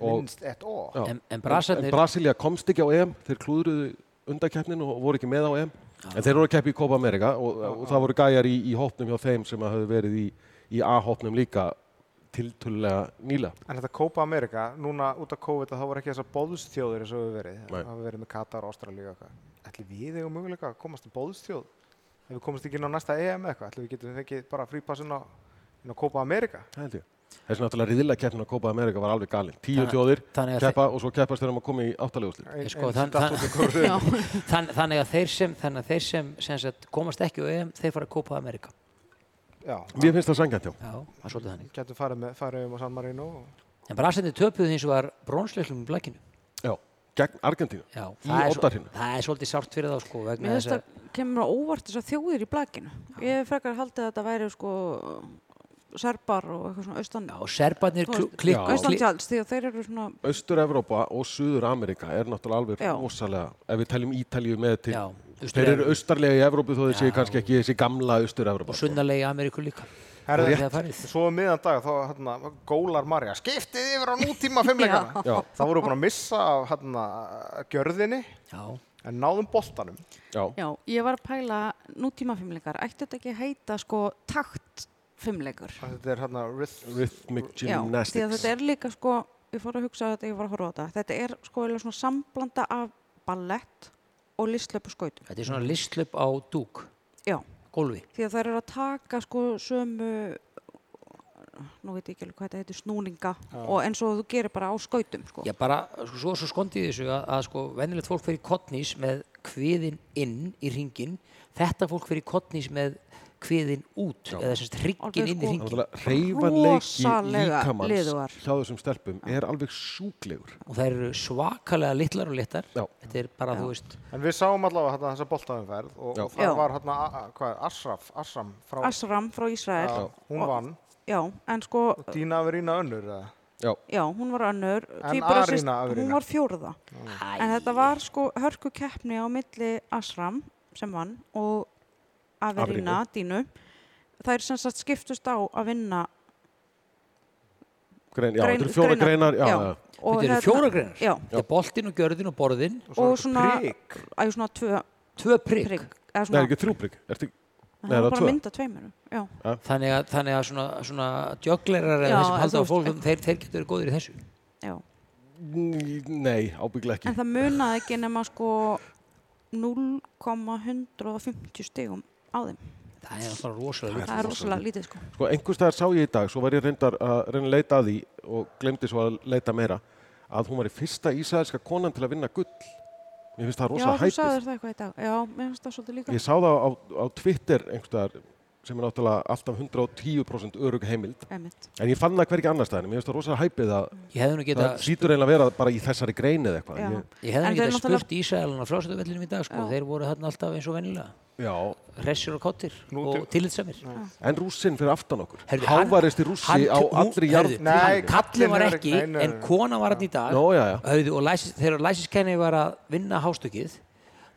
B: og,
A: Minnst ett og.
B: já,
D: En- en
B: en
D: Brasarnir-
B: Brasilia komst ekki á EM þeir klúðruðu undakeppnin og voru ekki með á EM en þeir voru að keppi í Copa America og, og það voru gæjar í, í hópnum hjá þeim sem að höfðu verið í, í A-hópnum líka tiltölulega nýla
A: En þetta Copa America, núna út af COVID, að þá voru ekki þessar bóðstjóðir eins og við verið.
B: Nei.
A: Það hafa verið með Katar og Ástralíu og eitthvað. Ætli við eigum möguleika að komast í bóðstjóð? Ef við komast ekki inn á næsta EM eða eitthvað, ætli við getum fengið bara frípassin á, inn á Copa America?
B: Það held ég. Þessi náttúrulega riðilega keppnin að Copa America var alveg galinn. Tíu
D: Þannig-
B: þjóðir
D: þannig að
B: keppa og svo keppast þeir um að koma í áttaleguslit.
A: Ein,
D: sko,
A: ein
D: þann-
A: datt út í kórðu.
D: Þann, þannig að þeir sem, þannig að þeir sem, sem sagt, komast ekki á EM, þeir fara að kópa Amerika
A: Já,
B: Mér finnst það sangjant hjá.
D: já, það er svolítið þannig
A: getum farið, með, farið um á San Marino. og-
D: en Brasarnir töpuðu hins vegar bronsleiklum í blækinu
B: Já. Gegn Argentínu.
D: já,
B: Í
D: það er svo-
B: oddarhinu.
D: það er svolítið sárt fyrir þá sko, vegna
C: Mér
D: þess
C: finnst
D: að
C: það kemur á óvart þess að þjóðir í blakinu. Ég hef frekar haldið að þetta væri sko serbar og eitthvað svona austan,
D: já, og
C: Þú
D: serbarnir kl-
C: veist-
B: Já.
D: klikku
C: austan
D: kli-
C: tjáls því að þeir eru svona
B: Austur-Evrópa og Suður-Amerika er náttúrulega alveg
C: Já.
B: rosalega, ef við teljum Ítalíu með til.
D: já,
B: Þeir
D: Austur-
B: eru austarlega í Evrópu þó þeir séu
D: Já.
B: kannski ekki þessi gamla Austur-Evrópa.
D: og sunnarlega í Ameríku líka
A: Herðu,
D: þegar farið
A: Svo um miðan dag þá hérna, gólar Marja skiptið yfir á nútíma fimmleikana
B: Já.
A: Það voru búin að missa af hérna, gjörðinni
D: já,
A: en náðum boltanum
B: Já.
C: Já, ég var að pæla nútíma fimmleikar ætti þetta ekki að heita sko takt fimmleikur
A: Þetta er hérna rhythm
B: Rhythmic
C: því að
B: gymnastics.
C: þetta er líka sko ég fór að hugsa þetta, ég var að horfa á þetta þetta er sko eiginlega svona samblanda af ballett og listlöpu skautum
D: þetta er svona listlöp á dúk
C: Já,
D: gólfi
C: því að það eru að taka sko sömu nú veit ég ekki alveg hvað þetta heitir snúninga og eins og þú gerir bara á skautum sko.
D: Já, bara, sko, svo, svo skondið í þessu að, að sko, venjulegt fólk fyrir kottnís með kviðin inn í ringin, þetta fólk fyrir kottnís með kviðin út, eða sem sagt
C: Alveg
D: ringin inn í
C: sko-
D: ringin.
B: Reyfanleiki
C: Rosalega
B: líkamans
C: liðugar.
B: hjá þessum stelpum er alveg sjúklegur.
D: Og það eru svakalega litlar og litlar.
B: Já.
D: Þetta er bara, þú veist,
A: En við sáum allavega hérna, þessa boltaumferð og,
B: Já.
A: og það
C: Já.
A: var hérna a- a- hvað, er, Asraf, Asram frá
C: Asram frá Ísrael
A: Já, Hún vann
C: já, en sko
A: Dína Verína önnur eða?
B: Já.
C: Já, hún var önnur.
A: En
C: tvíburasys-
A: Arína Averina?
C: Hún var fjórða.
D: Æ.
C: En þetta var sko hörku keppni á milli Asram sem vann og Averina, Dínu. Það er sem sagt skiptust á að vinna
B: Grein, já,
C: Grein-
B: þetta eru fjóra greinar,
C: greinar,
B: já,
C: já.
B: já.
C: og
D: Þetta eru
C: hérna-
D: fjóra greinar.
C: Já,
D: Þetta er boltinn og gjörðin og borðin,
A: Og
C: og
A: svo
C: svona,
A: prigg.
C: æ, svona tvö
D: tvö prigg.
C: prigg. Eða
B: Nei,
C: svona,
B: er ekki þrjúbrygg, ertu,
C: það
B: nei,
C: var
B: það er
C: bara
B: tvö.
C: að mynda tveimur. Já,
D: Þannig að, þannig að svona, svona jöglerar
C: Já,
D: eða þeir sem
C: en
D: halda
C: þú
D: á
C: veist-
D: fólkum, þeir, þeir getur verið góðir í þessu.
C: já.
B: nei, ábygglega
C: En
B: ekki.
C: það munaði ekki nema sko 0,150 stigum á þeim.
D: Það er svona rosalega
C: Það er rosalega lítið sko.
B: Sko, einhvers staðar sá ég í dag, svo var ég reyndar að reyna að leita að því og glemdi svo að leita meira, að hún var í fyrsta ísæðiska konan til að vinna gull. Mér finnst það
C: Já,
B: rosa
C: þú
B: hæpið.
C: sagðir það eitthvað í dag. Já, mér finnst það svolítið líka.
B: Ég sá það á, á Twitter einhverstaðar sem er náttúrulega alltaf 110% örug heimild.
C: Einmitt.
B: En ég fann það hvergi annars staðar. Mér finnst það rosa hæpið að
D: Ég hefði nú geta,
B: það sítur eiginlega að vera bara í þessari grein eða eitthvað.
C: Já.
B: Ég,
D: ég hefði
C: En
D: nú
C: þeir
D: geta
C: náttúrulega-
D: spurt Ísraelana frá stöðvellinum í dag, sko.
C: Já.
D: Þeir voru þarna alltaf eins og vennilega.
B: já.
D: Hressir og kottir
A: Lútir.
D: og tillitsamir.
B: En rússinn fyrir aftan okkur.
D: Heyrðu, hann-
B: Hávaristi rússi
D: hann-
B: á
D: hún-
B: allri jarð.
D: heyrðu,
A: Nei,
D: hann- kallinn var
A: kallinn er
D: ekki,
A: ekki- nei, nei,
D: en
A: nei.
D: kona var hann í dag.
B: Nó, já, já.
D: Hörðu, og læsis, þegar læsiskenni var að vinna hástökið,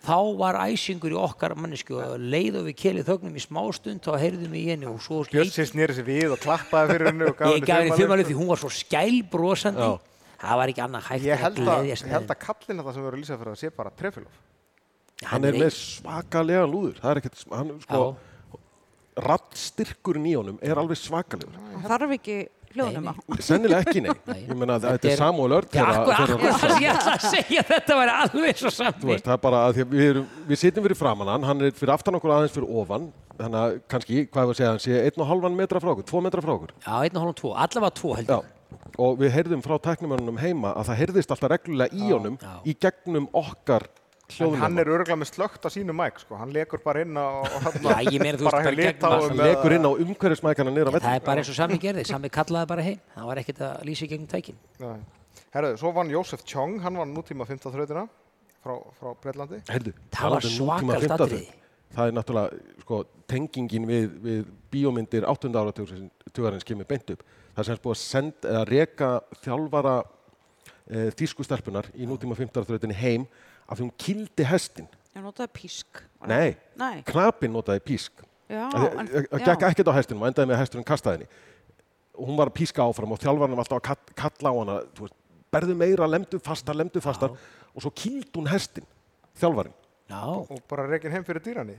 D: þá var æsingur í okkar mannesku og leið og við kelið þögnum í smástund þá heyrðum við í henni og svo
A: Bjössi snýri sér við og klappaði fyrir henni og gaf
D: ég
A: henni
D: gaf henni
A: fimmali.
D: fimmalið því hún var svo skælbrosandi það var ekki annað hægt
A: Ég held að,
D: gleðjast
A: ég
D: með
A: held að kallin að það sem við erum að lýsa fyrir að sé bara trefilov.
D: henni.
B: Hann er með svakalega lúður. Það er ekkert, sm- hann sko,
D: Já.
B: rattstyrkurinn í honum er alveg svakalegur.
C: Það þarf ekki hljóðnum að.
B: Sennilega ekki, nei.
D: Nei.
B: Ég meina að
D: Þetta
B: þetta
D: er-
B: er Samuel Örd
D: Já,
B: þeirra-
D: akkur,
B: þeirra
D: akkur,
B: Rússa.
D: það sem ég ætla að segja þetta væri alveg svo
B: Þú
D: samni
B: veist, það er bara að því að við erum, við sitjum fyrir framan hann, hann er fyrir aftan okkur aðeins fyrir ofan, þannig að kannski, hvað er að segja, hann sé einn og halvan metra frá okkur, tvo metra frá okkur.
D: Já, einn og hálfum tvo, allavega tvo held
B: Já.
D: ég
B: Og við heyrðum frá tæknumönnum heima að það heyrðist alltaf reglulega í honum
D: Já.
B: í gegnum okkar
A: En hann
B: hljóðnum.
A: er örgulega með slögt á sínu mæk, sko. Hann lekur bara inn á...
D: Já, ég meina, þú veist, bara
A: bara
D: gegn
A: lita á
D: massa.
A: um
B: Hann lekur inn á umhverfismækana niður að
D: Það
B: vellum.
D: er bara eins og sami gerði, sami kallaði bara heim Það var ekkert að lýsa í gegnum tækin
A: Nei. Herðu, svo vann Jósef Tjong, hann vann nútíma 15. þrautina frá, frá Breitlandi.
B: Heyrðu,
D: Það var
B: talandi um nútíma
D: svakalegt
B: 15.
D: atriði.
B: Það er náttúrulega, sko, tengingin við, við bíómyndir 8. áratugarins kemur beint upp. Það er sem sagt búið að senda eða reka þjálfara e, þýsku stelpunar í nútíma 15. þrautinni heim af því hún kildi hestin.
C: Ég notaði písk.
B: Nei,
C: Nei,
B: knapinn notaði písk.
C: já. en-
B: Það
C: já.
B: gekk ekkert á hestinum og endaði með að hesturinn kastaði henni. Og Hún var að píska áfram og þjálfarinn var alltaf að kall, kalla á hana, þú veist, berðu meira, lemdu fastar, lemdu fastar og svo kildi hún hestin, þjálfarinn.
D: Já,
A: Og bara rekin heim fyrir dýrani.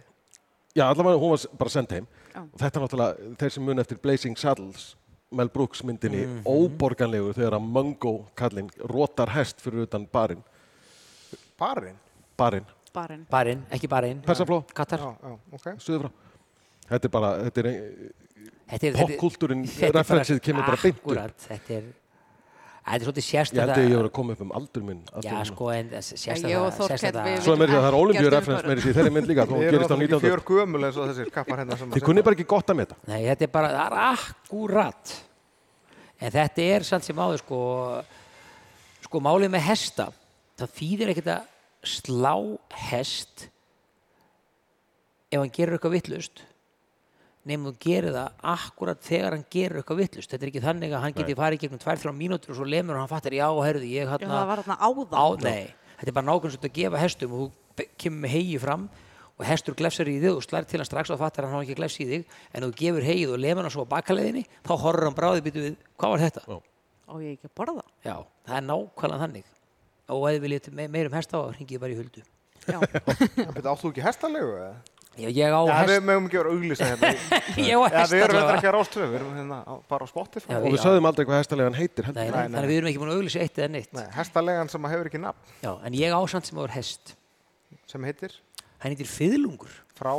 B: Já, allavega hún var s- bara send heim.
C: Já.
B: Og þetta er náttúrulega, þeir sem muni eftir Blazing Saddles, Mel Brooks myndinni,
D: Mhm.
B: óborganlegur þegar að Mungo kallinn rótar hest fyrir utan barinn.
A: Barinn.
B: Barinn,
C: Barinn.
D: barinn, ekki barinn
B: Persafló,
A: Já,
D: Katar
A: já, ok.
B: söður frá. Þetta er bara, þetta er ein-
D: Þetta er- þetta er-
B: popkúltúrin, referensið kemur bara beint upp.
D: Akkúrat, þetta er Þetta er svolítið
B: Ég held
D: sérstæða
B: að ég hefur að koma upp um aldur minn. aldur
D: Já,
B: minn.
D: sko, en
C: Ég
D: sérstæða
C: og Þorkell, við-
B: Svo er mér að það er
C: Ekkert um
B: olimpíureferens
C: umhverfi.
B: með þessi þeirri mynd líka, þó
A: Ég
B: hún
A: er
B: gerist á
A: náttúrulega ekki
B: 19.
A: fjör gömul eins og þessir kappar hérna sem
B: Þið kunni bara ekki gott að meta.
D: Nei, þetta er bara, það er akkurat. En þetta er samt sem áður, sko, sko, málið með hesta, það þýðir ekkert að slá hest ef hann gerir eitthvað vittlust, nefnum þú gerir það akkurat þegar hann gerir eitthvað vittlust. Þetta er ekki þannig að hann geti farið í gegnum 2-3 mínútur og svo lemur og hann fattar, já, herðu, ég
C: Já,
D: hérna,
C: það var þarna áðan.
D: á, nei, þetta er bara nákvæmst að gefa hestum og þú be- kemur með hegi fram og hestur glefsar í þig og slær til hann strax og fattar að hann hafa ekki glefs í þig en þú gefur hegið og lemur hann svo á bakaleðinni þá horfur hann bráðið býtu við, hvað var þetta?
C: Á ég ekki að borða.
D: Já, það er nákvæmlega þannig og ef þið viljið me meirum hesta á, hringið bara í huldu
C: Já,
A: Þetta áttu ekki hestalegu eða?
D: Já, ég á
A: Já,
D: hest,
A: við mögum ekki vera auglýsa hérna.
D: ég á
A: Já,
D: hest
A: við erum
D: allavega.
A: þetta ekki að rástöðu, við erum hérna á- bara á Spotify.
D: Já,
B: Og við
D: já.
B: sögðum aldrei hvað hestalegan heitir
D: Nei,
B: heldur.
D: nei, þannig að við erum ekki búin að auglýsa eitt eða neitt
A: Nei, hestalegan sem að hefur ekki nafn,
D: Já, en ég á samt sem áður hest
A: sem heitir
D: hann heitir Fiðlungur
A: frá...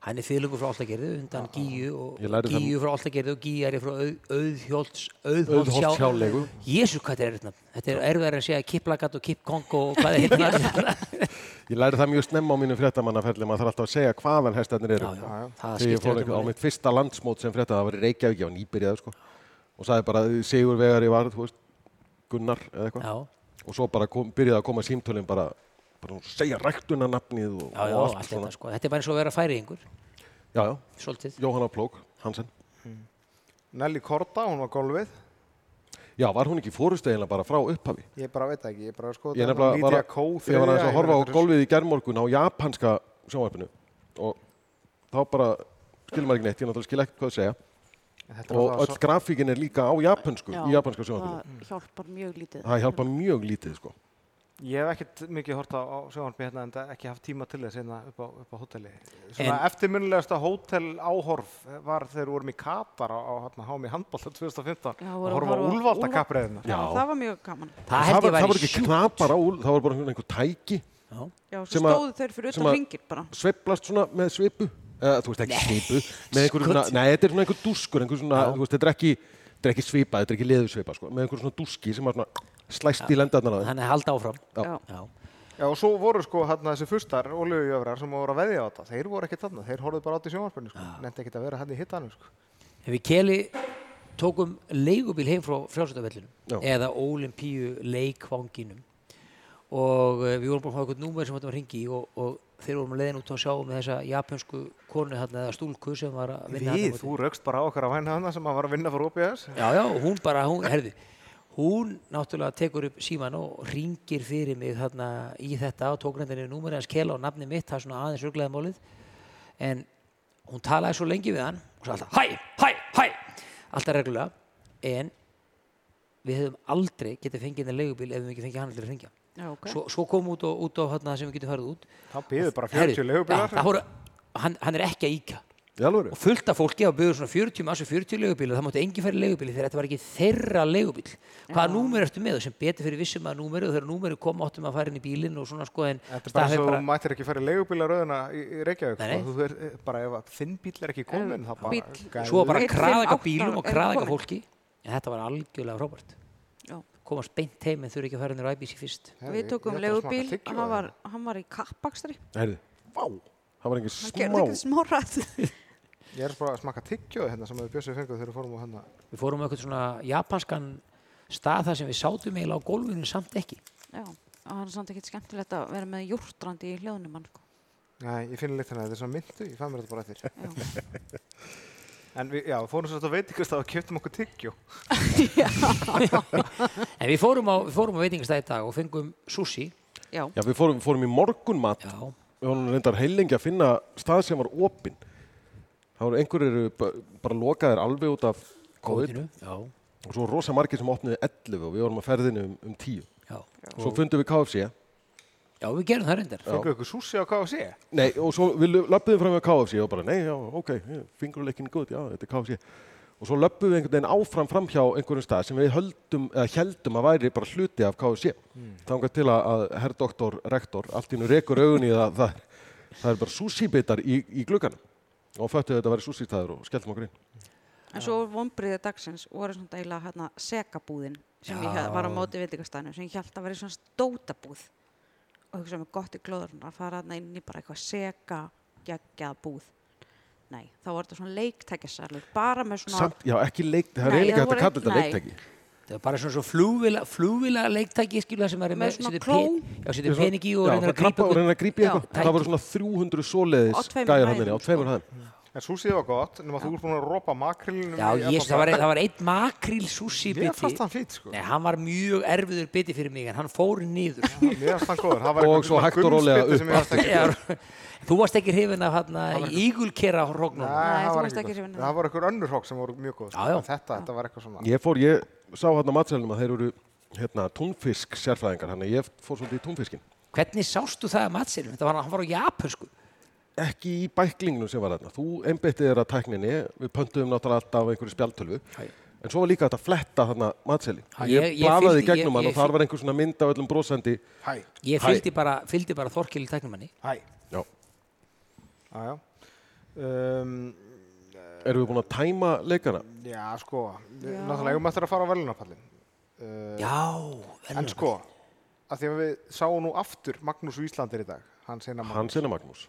D: hann er fiðlungur frá Áltagerði undan Gíu og
B: Ég lærði það
D: Gíu frá Áltagerði og Gíari frá Auð- Auðhjólts
B: Auðholtshjáleigu.
D: Jésu hvað þetta er erfitt nafn þetta er erfiðar að segja Kiplagat og Kipkong og hvað það heitir nafn.
B: Ég læri það mjög snemma á mínum fréttamannaferli, maður þarf alltaf að segja hvaðan hestarnir
D: Já,
B: eru.
D: já, það
B: Þegar ég
D: skiptir
B: fór
D: öllu
B: einhver, á
D: máli.
B: mitt fyrsta landsmót sem frétta, það var í Reykjavík, ég var nýbyrjaður sko. Og sagði bara, Sigur Vegari var, þú veist, Gunnar eða eitthvað.
D: já,
B: Og svo bara kom, byrjaði að koma símtölinn bara, bara hún segja ræktunarnafnið og,
D: já, já,
B: og
D: allt þetta sko þetta er bara eins og að vera færiðingur
B: Já, já,
D: svolítið
B: Jóhanna Plók, Hansen.
A: Nelly Korda, hún var gólfið.
B: Já, var hún ekki fórustu eiginlega bara frá upphafi?
A: Ég bara veit það ekki, ég bara sko
B: Ég nefnilega var,
A: Lídia Kó
B: að- ég var aðeins að horfa á golfið í gerðmorgun á japanska sjónvarpinu og þá bara skilur maður ekki neitt, ég náttúrulega skil ekki hvað það segja og öll grafíkin er líka á japansku, í japanska sjónvarpinu.
C: það hjálpar mjög lítið
B: Það hjálpa mjög lítið sko.
A: Ég hef ekkert mikið hort á, á sjónvarpi hérna en ekki haft tíma til þess hérna upp á, upp á hóteli. Svona
D: En-
A: eftirminnilegasta hótel áhorf var þegar við vorum í Katar á, á hérna hámi handbólta 2015
C: Já,
A: að
C: vorum
A: horfa á hérna.
C: að horfa á
A: úlvalda
C: Úlfal-
A: kapreðina.
B: Já.
C: það var mjög gaman
D: Það
B: það,
D: held
B: var,
D: ég
B: það
D: var
B: var ekki knapar á úl, það var bara einhvern veginn tæki
C: já, svo
B: Sem að-
C: stóðu þeir fyrir
B: sem
C: utan
B: að-
C: ringin bara
B: sveiflast svona með svipu eða þú veist ekki svipu með einhverju svona,
D: Skot.
B: nei þetta er svona einhver dúskur einhver svona, þú veist, þetta er ekki, þetta er ekki svipa þetta er ekki leðusvipa sko, með einhverju svona dúski sem var svona slæst í lendarnar á þeim
D: Þannig að halda áfram.
B: Já.
C: Já.
D: Já.
A: Já og svo voru sko hérna þessi fustar olíujöfrar sem voru að veðja á þetta. Þeir voru ekkert þarna, þeir horfðu bara átt í sjónvarpinu sko. Nefndi ekkert að vera hérna í hittanum sko.
D: En við Keli tókum leigubíl heim frá
B: Já.
D: frjálsöldavellinu eða Ólimpíu leikvanginum og eh, við vorum bara að fá eitthvað númer sem þetta var hringi í og, og þeir vorum að leiðin út að sjá með þessa japansku konu þarna eða stúlku sem var að vinna þarna á
A: Við,
D: móti.
A: þú raukst bara á okkar á hæna hana sem að var að vinna fyrir OBS.
D: Já, já, hún bara, hún, herði, hún náttúrulega tekur upp síman og ringir fyrir mig þarna í þetta og tók reyndinni númerið hans kela og nafni mitt, það er svona aðeins örglega málið. En hún talaði svo lengi við hann og svo alltaf, hæ, hæ, hæ, alltaf reglulega. En við hefðum aldrei getið fengið henni leigubíl ef við ekki fengið hann til að ringja.
C: já, ok
D: Svo, svo kom út og út á þarna sem við getum farið út.
A: Þá býðu bara 40
D: Herri, já, það
A: leigubílar.
D: voru, hann, hann er ekki að íka
B: í alvöru,
D: og fullt af fólki hafa byggður svona 40 massu 40 leigubíla, það máttu engin færi leigubíli þegar þetta var ekki þeirra leigubíl hvaða númer ertu með og sem betur fyrir vissum að númeru og þegar númeru kom áttum að fara inn í bílinn og svona sko en
A: Þetta er bara
D: staðið
A: svo þú mættir ekki fara í leigubílaröðina í, í Reykjavík.
D: Nei, nei.
A: Nei. Þú er eh, bara ef að þinn bíl er ekki komin þá bara...
C: bíll-
A: gæði.
D: svo bara
C: Einn,
D: að
C: fimm,
D: kraða eitthvað
C: átta
D: bílum og
C: er
D: kraða
C: komin.
D: eitthvað fólki en þetta var algjörlega frábært
C: Já.
D: komast beint heim en þurfi ekki að fara inn í ræbísi fyrst
A: Herri,
C: við tókum
A: ég ætla að smakka tyggjó
C: legubíl, hann var,
A: hérna.
C: hann var í kappakstri
B: heyrði, vá það var einhver
C: hann gerði ekkert
B: smá
C: smá rætt
A: Ég er bara að smaka tyggjóð hérna sem við bjössið fengum þegar við fórum á hérna.
D: við fórum á eitthvað svona japanskan stað þar sem við sátum eiginlega á gólfinu samt ekki
C: já, og hann er samt ekkert skemmtilegt að vera með júrtrandi í hljóðnum hann sko.
A: Nei, ég finn leitt hérna, þetta er svona myndu, ég fann mér þetta bara eftir.
C: Já.
A: En við, já, við fórum svolítið að veitingastað og kjöptum okkur tyggjó.
D: en við fórum á, við fórum á veitingastæði í dag og fengum sushi
C: já,
B: já við fórum, fórum í morgunmat
D: já,
B: við vorum reyndar heilengi að finna stað sem var opinn það voru einhverjir ba- bara lokaðir alveg út af COVID
D: kóðinu já,
B: og svo rosa margir sem opniði 11 og við vorum að ferðinu um, um 10
D: já.
B: svo fundum við KFC
D: já, við gerum það reyndar
A: Fengum ykkur súsi á KFC.
B: Nei, og svo við löppuðum fram með KFC og bara, nei, já, ok, fingurleikin góð, já, þetta er KFC. Og svo löppuðum við einhvern veginn áfram fram hjá einhverjum stað sem við höldum, eða heldum að væri bara hluti af KFC.
D: Hmm.
B: Mm. Þangar til að, að herr doktor, rektor, allt í nú rekur augun í það, það, það er bara súsíbitar í, í glugganum. Og föttuðu þetta að vera súsístaður og skelltum okkur inn.
C: En svo vonbriðið dagsins voru svona eiginlega hérna sekabúðin sem ég
D: Já.
C: hef- var á móti veitingastæðinu sem ég held að vera svona stótabúð og hugsa mig gott í glóðurinn að fara hérna inn í bara eitthvað seka geggjað búð. Nei, þá var þetta svona leiktækjasalur bara með svona
B: Samt, já, ekki leik, það er
C: Nei,
B: eiginlega hægt
C: það
B: að
C: voru-
B: kalla þetta
C: nei.
B: leiktæki.
D: Það er bara svona svo flugvila, flugvila leiktæki skilja sem er
C: Með
D: með,
C: svona
D: setur
C: kló.
D: pen- Já, setur peningi og
B: Já, það
D: reynir að grípa
B: krabba og
D: okkur.
B: reynir að grípa í
C: Já,
B: eitthvað.
D: tæki.
B: Það voru svona 300
C: Á
B: svoleiðis
C: tveimur
B: gæjar
C: hæðum,
B: hann minni á
C: sko.
B: tveimur hæðum.
A: En súsið var gott, nema þú ert búin að ropa makrilinu.
D: Já, ég, það, var, það var einn makríl sushi
A: Mér
D: biti.
A: fannst hann fýtt, sko.
D: Nei, hann var mjög erfiður biti fyrir mig en hann fór niður.
A: Mér fannst hann góður. Það var
B: Og
A: einhver
B: svo
A: svona
B: hægt og rólega
A: gumsbiti sem
B: upp
A: ég varst ekki-
D: Já, Þú varst ekki hrifin af hann ígulkera hrognum.
C: Nei,
A: það
C: þú
A: var
C: varst ekki
A: ekki
C: hrifin
A: gott.
C: af
A: Það var einhver önnur hrók sem voru mjög góð. sko.
D: Já, já.
A: Þetta, þetta var eitthvað svona.
B: Ég fór, ég sá hérna á matselnum að þeir eru hérna, túnfisk sérfræðingar, þannig að ég fór svolítið í túnfiskin.
D: Hvernig sástu það að matserum? Þetta var hann var á japansku.
B: Ekki í bæklingnum sem var þarna. Þú einbyttið þér að tækninni, við pöntuðum náttúrulega alltaf af einhverju spjaltölvu,
D: Hæ.
B: en svo var líka þetta að fletta þarna matselin.
D: Hæ,
B: Ég,
D: ég-
B: ég
D: ég
B: blafaði
D: fylgdi-
B: í gegnum
D: ég-
B: hann
D: ég
B: og þar var einhver svona mynd af öllum brosandi.
A: Hæ,
D: Ég
B: Hæ.
D: fylgdi bara, fylgdi bara Þorkil í tæknumanni.
A: hæ.
B: Já.
A: Já, já. Um,
B: Erum við búin að tæma leikana?
A: já, sko. Við,
C: Já.
A: náttúrulega, ég mættir að fara á velunarpallin. Uh,
D: Já,
A: En sko, að því að við sáum nú aftur Magnús Íslandir í dag, hans eina mann,
B: Hans einu Magnús.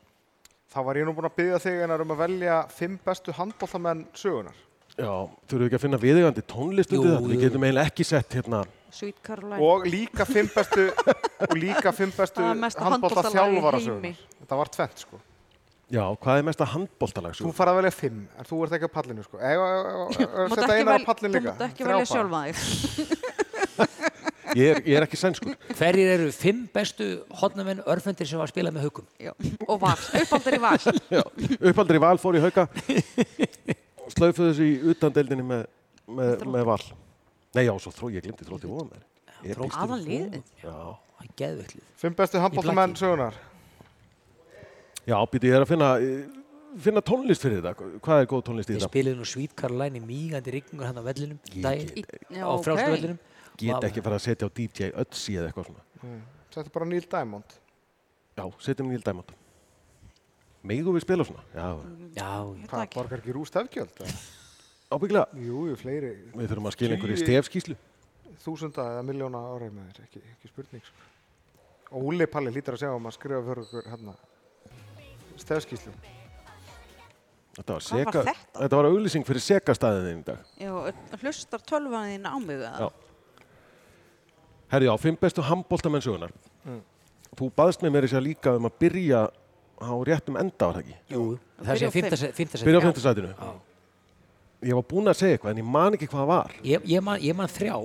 A: þá var ég nú búinn að byggja þig einar um að velja fimm bestu handbóltamenn sögunar.
B: Já, þurfum við ekki að finna viðegandi tónlist undir
D: Jú,
B: þetta? Við
D: jú.
B: getum eiginlega ekki sett hérna,
C: Sweet Caroline.
A: Og líka fimm bestu, og líka fimm bestu
C: Það er mesta handboltalag í
A: handbóltaþjálfara
C: heimi.
A: sögunar. Þetta var tvent, sko.
B: Já, hvað er mesta Sko, handbóltalag?
A: Þú farið að velja fimm, en þú ert ekki á pallinu sko. Ef að
C: Mátt
A: setja
C: ekki
A: einar á
C: vel-
A: pallinu líka.
C: Þú mátt ekki
A: þrjá
C: velja
A: bara.
C: sjálfa þig.
B: Ég er, ég er ekki sænskur.
D: Hverjir eru fimm bestu hotnamenn örfendir sem var að spila með haukum?
C: Já, Og val, uppaldar í val.
B: Já, uppaldur í val fór í hauka og slöfuðu þessu í utandeldinni með, með, með val. Nei, já, svo þró, ég glemdi þrótti vóðum þær. Ég býst við-
C: Aðanliðið.
B: Já,
D: Það er geðveiklið.
A: Fimm bestu handbóltamenn sögunar.
B: já býti, ég er að finna, eh, finna tónlist fyrir þetta. Hvað er góð tónlist í
D: Ég
B: þetta?
D: spilaði nú Sweet Caroline í mýgandi rigningur hann á vellinum,
B: Ég
D: daginn,
C: Í- já,
D: á
C: ok.
D: frjálstu vellinum.
B: Get ekki fara að setja á DJ Ötzi eða eitthvað svona.
A: Settu bara Neil Diamond.
B: Já, setjum Níl Dæmond. Megum við spila svona? Já,
D: Já,
A: Hvað,
C: Takk.
A: borgar ekki rúst efgjöld?
B: ábyggilega.
A: Jú, jú, fleiri
B: Við þurfum að skila einhverju
A: Tugi-
B: stefskíslu.
A: þúsunda eða miljóna árið með þér, ekki, ekki spurning sko. Og Úli Palli hlýtur að segja um að skrifa fyrir okkur hérna stefskíslu.
B: Þetta var,
C: Hvað var
B: seka,
C: þetta?
B: þetta var auglýsing fyrir sekastæðin í dag.
C: Já, hlustar tölvan þín á mig eða?
B: Já. Herri, já, fimm bestu handbóltamenn sögunar. Þú baðst með mér þess að segja líka um að byrja á réttum enda, var það ekki?
D: jú, það
C: Byrja
D: sé
C: á fimm.
D: fymtasætt.
B: Byrja á fymtasætinu. Ég var búinn að segja eitthvað, en ég man ekki hvað það var.
D: Ég, ég, man, ég man þrjá,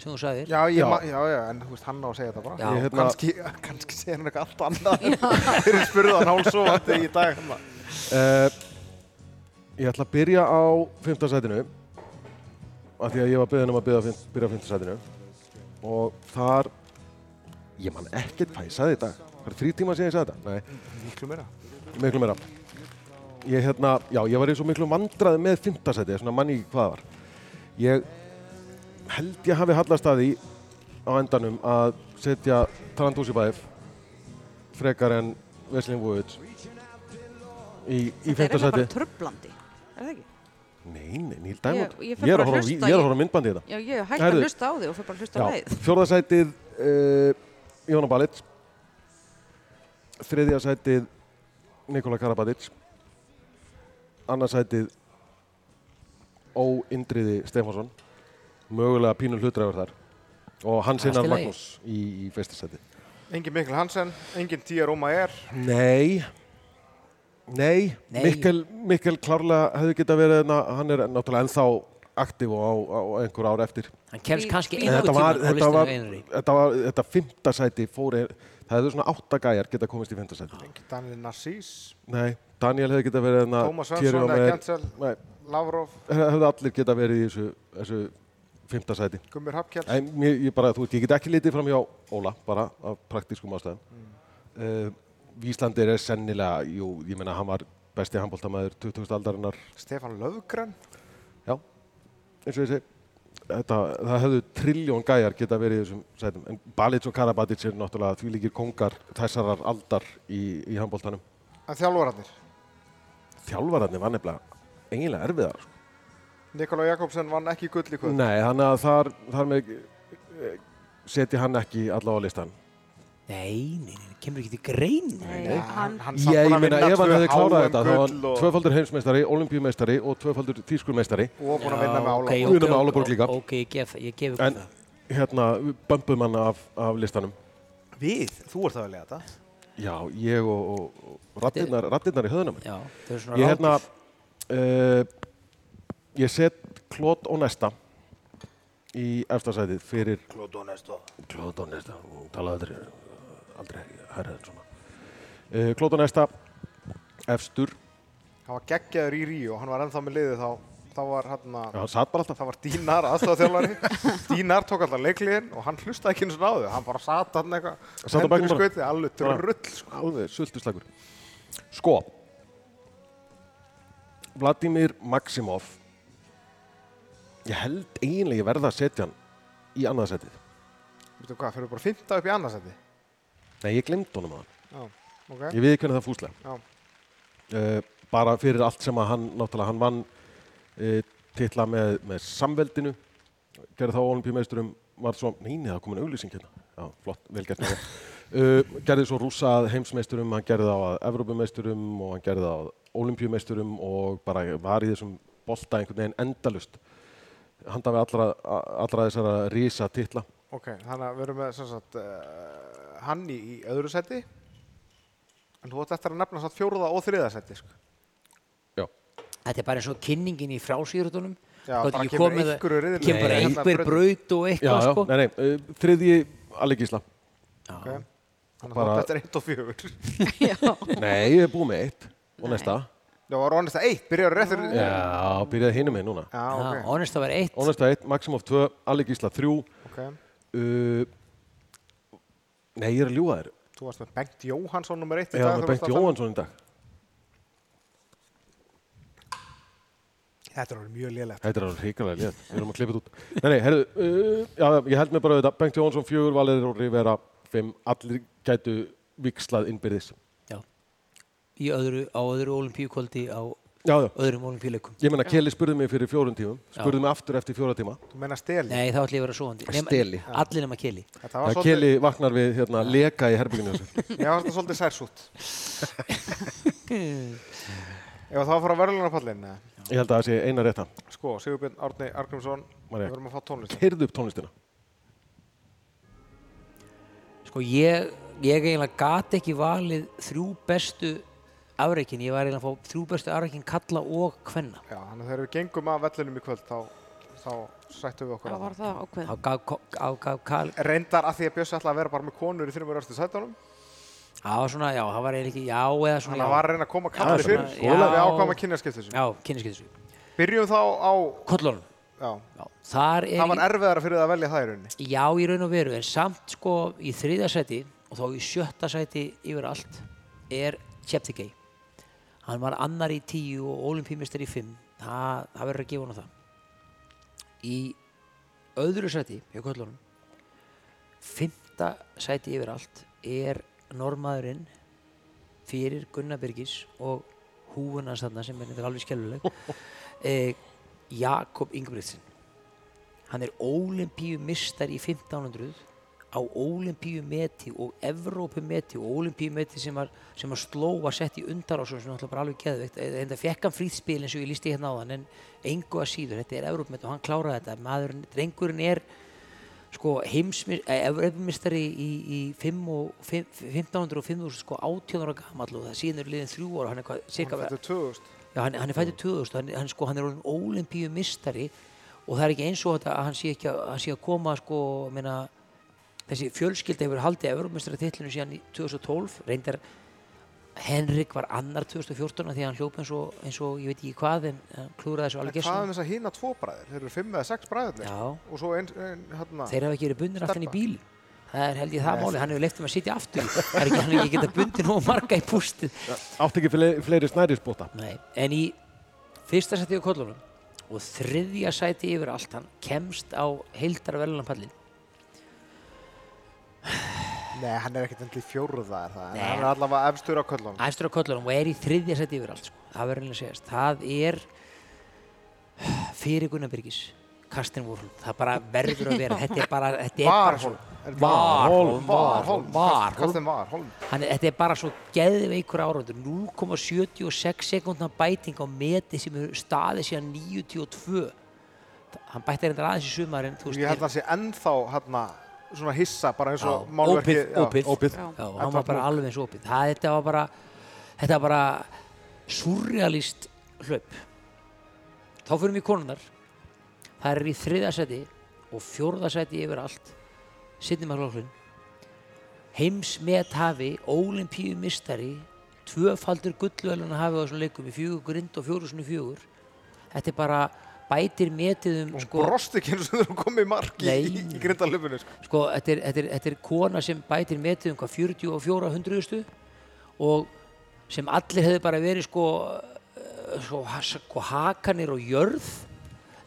D: sem þú sagðir.
A: Já, já.
B: Já.
A: Ma, já, já, en þú veist, hann á að segja þetta bara.
D: Já.
B: ég, hérna,
A: Kanski, kannski segja hann eitthvað allt annað en þeir spurðu hann hálsóandi í dag. hérna.
B: uh, ég ætla að byrja á fymtasætinu, af því að ég var beðin um að byrja, á fimm- byrja á fymtasætinu. Og þar, ég man ekkert hvað ég sagði í dag. Það er þrý tíma síðan ég sagði þetta. Nei.
A: Miklu meira.
B: miklu meira ég hérna, já, ég var í svo miklu vandraði með fymtasæti, svona manni hvað það var ég held ég hafi hallast að því á endanum að setja Tarandúsi Bæf frekar en Veslin Vujic í, í
C: Það er eiginlega
B: fymtasæti
C: bara tröflandi, er það ekki?
B: nei, nei, Níl Dæmond
C: Ég- ég
B: ég, er
C: fer bara
B: að
C: að
B: horfa á-
C: hlusta,
B: ég er
C: ég-
B: að horfa á myndbandi í þetta
C: Já, ég hef hægt
B: Herðu.
C: að hlusta á þig og fyrir bara að hlusta á leið.
B: fjórðasætið uh, Jóna Balic þriðjasætið Nikola Karabatic annarsætið óindriði Stefánsson mögulega pínum hlutræður þar og hans
D: Allt í
B: innan
D: lagi.
B: Magnús í, í festasæti
A: Engin Mikkel Hansen, engin Tía Róma er.
B: Nei Nei,
D: Nei.
B: Mikkel, Mikkel klárlega hefði geta verið hérna, hann er náttúrulega ennþá aktíf og á, á einhver ár eftir
D: Hann kemst
C: Því-
D: kannski
C: því-
D: einu
B: þetta
D: tíma
B: var,
D: á
B: þetta
D: listinu
B: var,
D: hjá einari.
B: þetta var, þetta fymta sæti fór, er, það hefðu svona átta gæjar geta komist í fymta sæti.
A: Engin Daniel Narcís,
B: Nei, Daniel hefði geta verið hérna,
A: Tómas
B: Thierry
A: Svensson,
B: Omer-
A: Gensel,
B: Nei,
A: Lavrov,
B: hefðu allir geta verið í þessu, þessu fymta sæti.
A: Gummir Hapkjell.
B: Nei, mér, ég bara, þú veit, ég get ekki litið fram hjá Óla, bara af praktískum ástæðum. Mm. Íslandir er sennilega, jú, ég meina, hann var besti handbóltamæður 2000 aldarinnar,
A: Stefan Löfgren,
B: já, eins og ég segi. Þetta, það hefðu trilljón gæjar geta verið í þessum sætum, en Balic og Karabatic er náttúrulega þvílíkir kongar þessarar aldar í, í handbóltanum.
A: en þjálfararnir.
B: Þjálfararnir var nefnilega eiginlega erfiðar. Sko.
A: Nikola Jakobsen vann ekki gull í kvöld.
B: Nei, þannig að þar, þar með eh, setji hann ekki allavega á listan.
D: Nei, nei, nei, kemur ekki til grein.
C: Nei, hann,
A: hann
B: Ég, ég meina, ef hann hefði klárað þetta, þá var hann
A: og, og,
B: tvöfaldur heimsmeistari, olimpíumeistari og tvöfaldur tískurmeistari.
A: og búin að vinna með
D: Já,
A: álag.
D: ok,
B: Við vinnum
D: ok,
B: með Álaborg líka.
D: Ok, ég gef, ég gef ykkur
B: En
D: það.
B: hérna, bömbum hann af, af listanum.
A: Við, þú ert það að lega þetta.
B: Já, ég og, og, og rattirnar, rattirnar í höðunum.
D: Já, þau eru svona
B: Ég hérna,
D: ráðgjöf.
B: uh, ég set Klót og Nesta í efstasætið fyrir... Klót og Nesta. Klót og Nesta, hún talaði aldrei, aldrei hærra en svona. Uh, Klót og Nesta, efstur,
A: Hann var geggjaður í Ríu og hann var ennþá með liðið þá, þá var hann
B: Já, hann satt bara alltaf.
A: Það var Dínar, aðstofþjálfari. Dínar tók alltaf leikliðin og hann hlustaði ekki eins og náðu. Hann bara sat hann eitthvað.
B: Sat á
A: hendur í
B: bekknum bara.
A: skautið, alveg drull. Sko.
B: Alveg, sultuslagur. Sko, Vladimir Maximov, ég held eiginlega ég verða að setja hann í annað setið.
A: Veitum hvað, fyrir bara fymta upp í annarsætti.
B: Nei, ég glemd honum að hann.
A: Já, ok.
B: Ég við ekki hvernig það fúslega.
A: Já.
B: Uh, bara fyrir allt sem að hann, náttúrulega, hann vann uh, titla með, með samveldinu, gerði þá olimpíumeisturum, var svo, neini, það er komin auglýsing hérna. Já, flott, vel gert með það. Uh, gerði svo rúsa að heimsmeisturum, hann gerði þá að Evrópumeisturum og hann gerði þá að olimpíumeisturum og bara var í þessum bolta einhvern veginn endalust. Handa við allra, a- allra þessara rísa titla.
A: eh, Ok, þannig að við erum með sem sagt, uh, hann í, í öðru sætti. En þú átt eftir að nefna satt fjóruða og þriða seti, sko.
B: Já.
D: Þetta er bara eins og kynningin í frásýrutunum.
A: Já, bara
D: ekki
A: kemur
D: komið-
A: einhverju riðli.
D: Kemur bara
A: Nei,
D: einhver
A: hérna
D: braut og
B: Já,
D: eitthvað,
B: já,
D: sko.
B: nei, nei, uh, þriðji allegísla.
A: Okay. Þannig að
B: Bara-
A: þú átt eftir 1 og 4.
B: Nei, ég hef búið með eitt og næsta.
A: Já, var honest að 1, byrjar réttur. Já,
B: Já, byrjaði hinum með núna.
D: Já,
A: Ah, ok.
D: honest það var eitt.
B: Ónæsta eitt, Maximov 2, allegísla 3.
A: ok.
B: Uh, nei, ég er að ljúa þér.
A: Þú varst með Bengt Jóhansson nummer 1
B: Ég var með Bengt Jóhansson í dag.
A: Þetta er alveg mjög lélegt.
B: Þetta er alveg hrikalega létt, við erum að klippa þetta út. Nei, nei, herðu, uh, já, ég held mér bara auðvitað, Bengt Jónsson fjögur, Valeri og Rivera fimm, allir gætu vikslað innbyrðis.
D: Já. Í öðru, á öðru olimpíukvöldi á
B: Já, já.
D: öðrum olimpíuleikum.
B: Ég menna, Kelly spurði mig fyrir fjórum tímum, spurði mig aftur eftir fjóra tíma.
A: Þú meina steli.
D: Nei, þá ætlum ég að vera svoandi.
B: Steli.
D: Allir nema Keli.
A: Þetta var
B: Það
A: svolítið,
B: Kelly vaknar við hérna leka í herbygginu þessu.
A: ég var þetta svolítið særsút. Ef það var að fara að verðlunarpallin,
B: Ég held að það sé eina rétta.
A: sko, Sigurbjörn Árni Argrímsson, við
B: María.
A: verðum að fá tónlist.
B: Keirðu upp tónlistina.
D: Sko, ég, ég eiginlega gati ekki valið þrjú bestu afreikin. Ég var eiginlega að fá þrjú bestu afreikin kalla og hvenna.
A: Já, þannig að þegar við gengum að vellinum í kvöld, þá, þá sættum við okkur
C: Það
A: að
C: var það ákveð.
D: Á gaf, á gaf Kali.
A: Reyndar að því að Bjössi ætlaði að vera bara með konur í þrjumur östu sætunum.
D: Það var svona, já, það var eiginlega ekki, já, eða svona,
A: Þannig að það
D: já.
A: var að reyna að koma kallir
D: svona,
A: fyrir.
D: já.
A: Við ákvæmum að kynna skipt þessu.
D: Já, kynneskiðsvík.
A: Byrjum þá á,
D: Kollunum.
A: já,
D: Já, þar er
A: það var erfiðara fyrir það að velja það í rauninni.
D: Já, í raun og veru, en samt sko í þriðja sæti og þá í sjötta sæti yfir allt er Cheptegei. Hann var annar í tíu og olimpíumistar í fimm. Það, það verður að gefa hann það. Í öðru sæti, hjá köllunum, fymta sæti yfir allt er normaðurinn fyrir Gunnar Birgis og húfuna þarna sem er reyndar alveg skelluleg, eh, Jakob Ingebrigtsen. Hann er ólimpíumistar í 1500 á ólimpíumeti og Evrópumeti og ólimpíumeti sem var, sem var sló að setja í undarásum sem náttúrulega bara alveg geðveikt en það fekk hann fríðspil eins og ég lísti hérna á þann en engu að síður, þetta er Evrópumeti og hann kláraði þetta maðurinn, drengurinn er sko heimsmistari í, í, í fimm og, fimm, 1500 og 5000 sko 18 ára gamall og það síðan eru liðin þrjú ára hann er hvað, cirka,
A: Þetta er 2000.
D: Já, hann, hann er fættið 2000, hann, hann, sko, hann er orðin ólimpíumistari og það er ekki eins og þetta að hann sé, ekki að, hann sé að koma sko, meina, þessi fjölskylda hefur haldið Evrópumistara titlinu síðan í 2012 reyndar Henrik var annar 2014 af því að hann hljóp eins og, eins og ég veit ekki hvað en hann klúraði þessu
A: En
D: alveg
A: hvað
D: gesson
A: um þess að hína tvo bræðir? Þeir eru fimm eða sex bræðir.
D: Já.
A: Og svo einn, ein, hérna,
D: þeir hafa ekki verið bundin aftan í
A: Stebba.
D: bíl það er held ég það
A: Nei,
D: máli, hann hefur leift um að sitja aftur í. það er ekki, hann hefur ekki getað bundin og marga í pústið
B: Átt ekki fle fleiri snærisbóta.
D: Nei, en í fyrsta sæti á kollunum og þriðja sæti yfir allt hann kemst á heildar velunarpallin
A: nei, hann er ekkert endli fjóruða er það.
D: Nei.
A: Nei. Hann er allavega efstur á köllunum.
D: æstur á kollunum og er í þriðja sæti yfir allt sko. það verður einnig að segjast það er fyrir Gunnar Birgis Kastin Vorholm, það bara verður að vera þetta er bara, þetta er bara svo
A: Varholm. Er ekki-
D: Varholm,
A: Varholm.
D: Varholm, Varholm
A: Kastin Varholm.
D: Hann, er- þetta er bara svo geðveikur árandur 0,76 sekundna bæting á meti sem eru staðið síðan 92 Þa- hann bætti reyndar aðeins í sumar en þú
A: Ég held að það sé ennþá hérna svona hissa bara eins og
D: Já,
A: málverki.
D: opið,
A: já.
D: opið.
B: Ópið.
C: Já.
D: Já,
A: Edward
D: hann var bara
A: Munch.
D: alveg eins opið. Það, þetta var bara, þetta var bara surrealist hlaup. Þá fyrir við konunar. Það er í þriða seti og fjórða seti yfir allt. Sidney McLaughlin. Heimsmet hafi, olimpíumistari, tvöfaldur gulluveluna hafi á þessum leikum í fjögur grind og fjóru sinni fjögur. Þetta er bara bætir metið um
A: Og
D: sko,
A: brosti ekki eins og þau eru komið í mark í, í, í
D: Nei.
A: grindalöfunni. Sko.
D: sko, þetta er, þetta, er, þetta er kona sem bætir metið um hvað 40 og 400 stu og sem allir hefði bara verið sko, eh, sko, ha- sko hakanir og jörð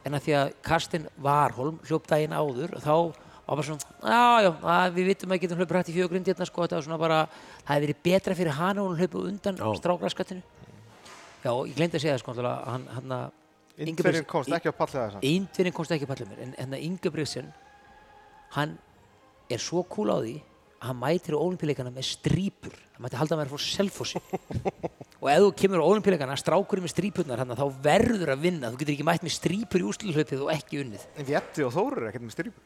D: en að því að Karsten Varholm hljóp daginn áður þá var bara svona, já, já, að, við vitum að við getum hlaupið hrætt í fjögrind hérna sko, þetta var svona bara, það hefði verið betra fyrir hana og hún hlaupið á undan
B: Já.
D: strákraskattinu. Já, og ég glemdi að segja það sko, náttúrulega, að hann, hann að...
A: Indverjum komst ekki á pallið þess að.
D: Eindverjinn komst ekki að palla mér en hérna Ingebrigtsen hann er svo kúl á því að hann mætir á olimpíuleikana með strípur hann mætti halda að vera frá selfossi og ef þú kemur á olimpíuleikana strákurinn með strípurnar hann þá verður að vinna þú getur ekki mætt með strípur í úsliðhlaupið og ekki unnið
A: En Vjetti og Þóri er ekkert með styrjum.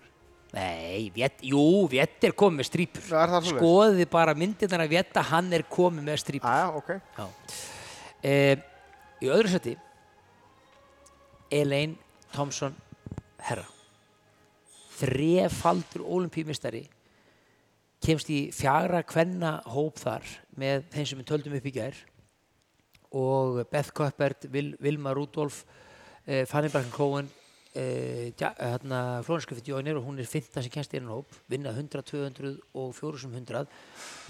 D: Nei, Vét, jú, Vett er komið með strýpur.
A: Já, er það svoleiðis?
D: Skoðið þið bara myndirnar að Vetta, hann er komið með strýpur.
A: Aja, ok.
D: Já. E, í öðru seti Elaine Thompson herra þrefaldur olimpíumistari kemst í fjagra kvenna hóp þar með þeim sem við töldum upp í gær og Beth Koppert, Vil, Vilma Rudolf eh, Fanny Bracken Cohen eh, ja, hérna, Flónskrifi Djónir og hún er 15 sem kemst í hennan hóp vinna 100, 200 og 400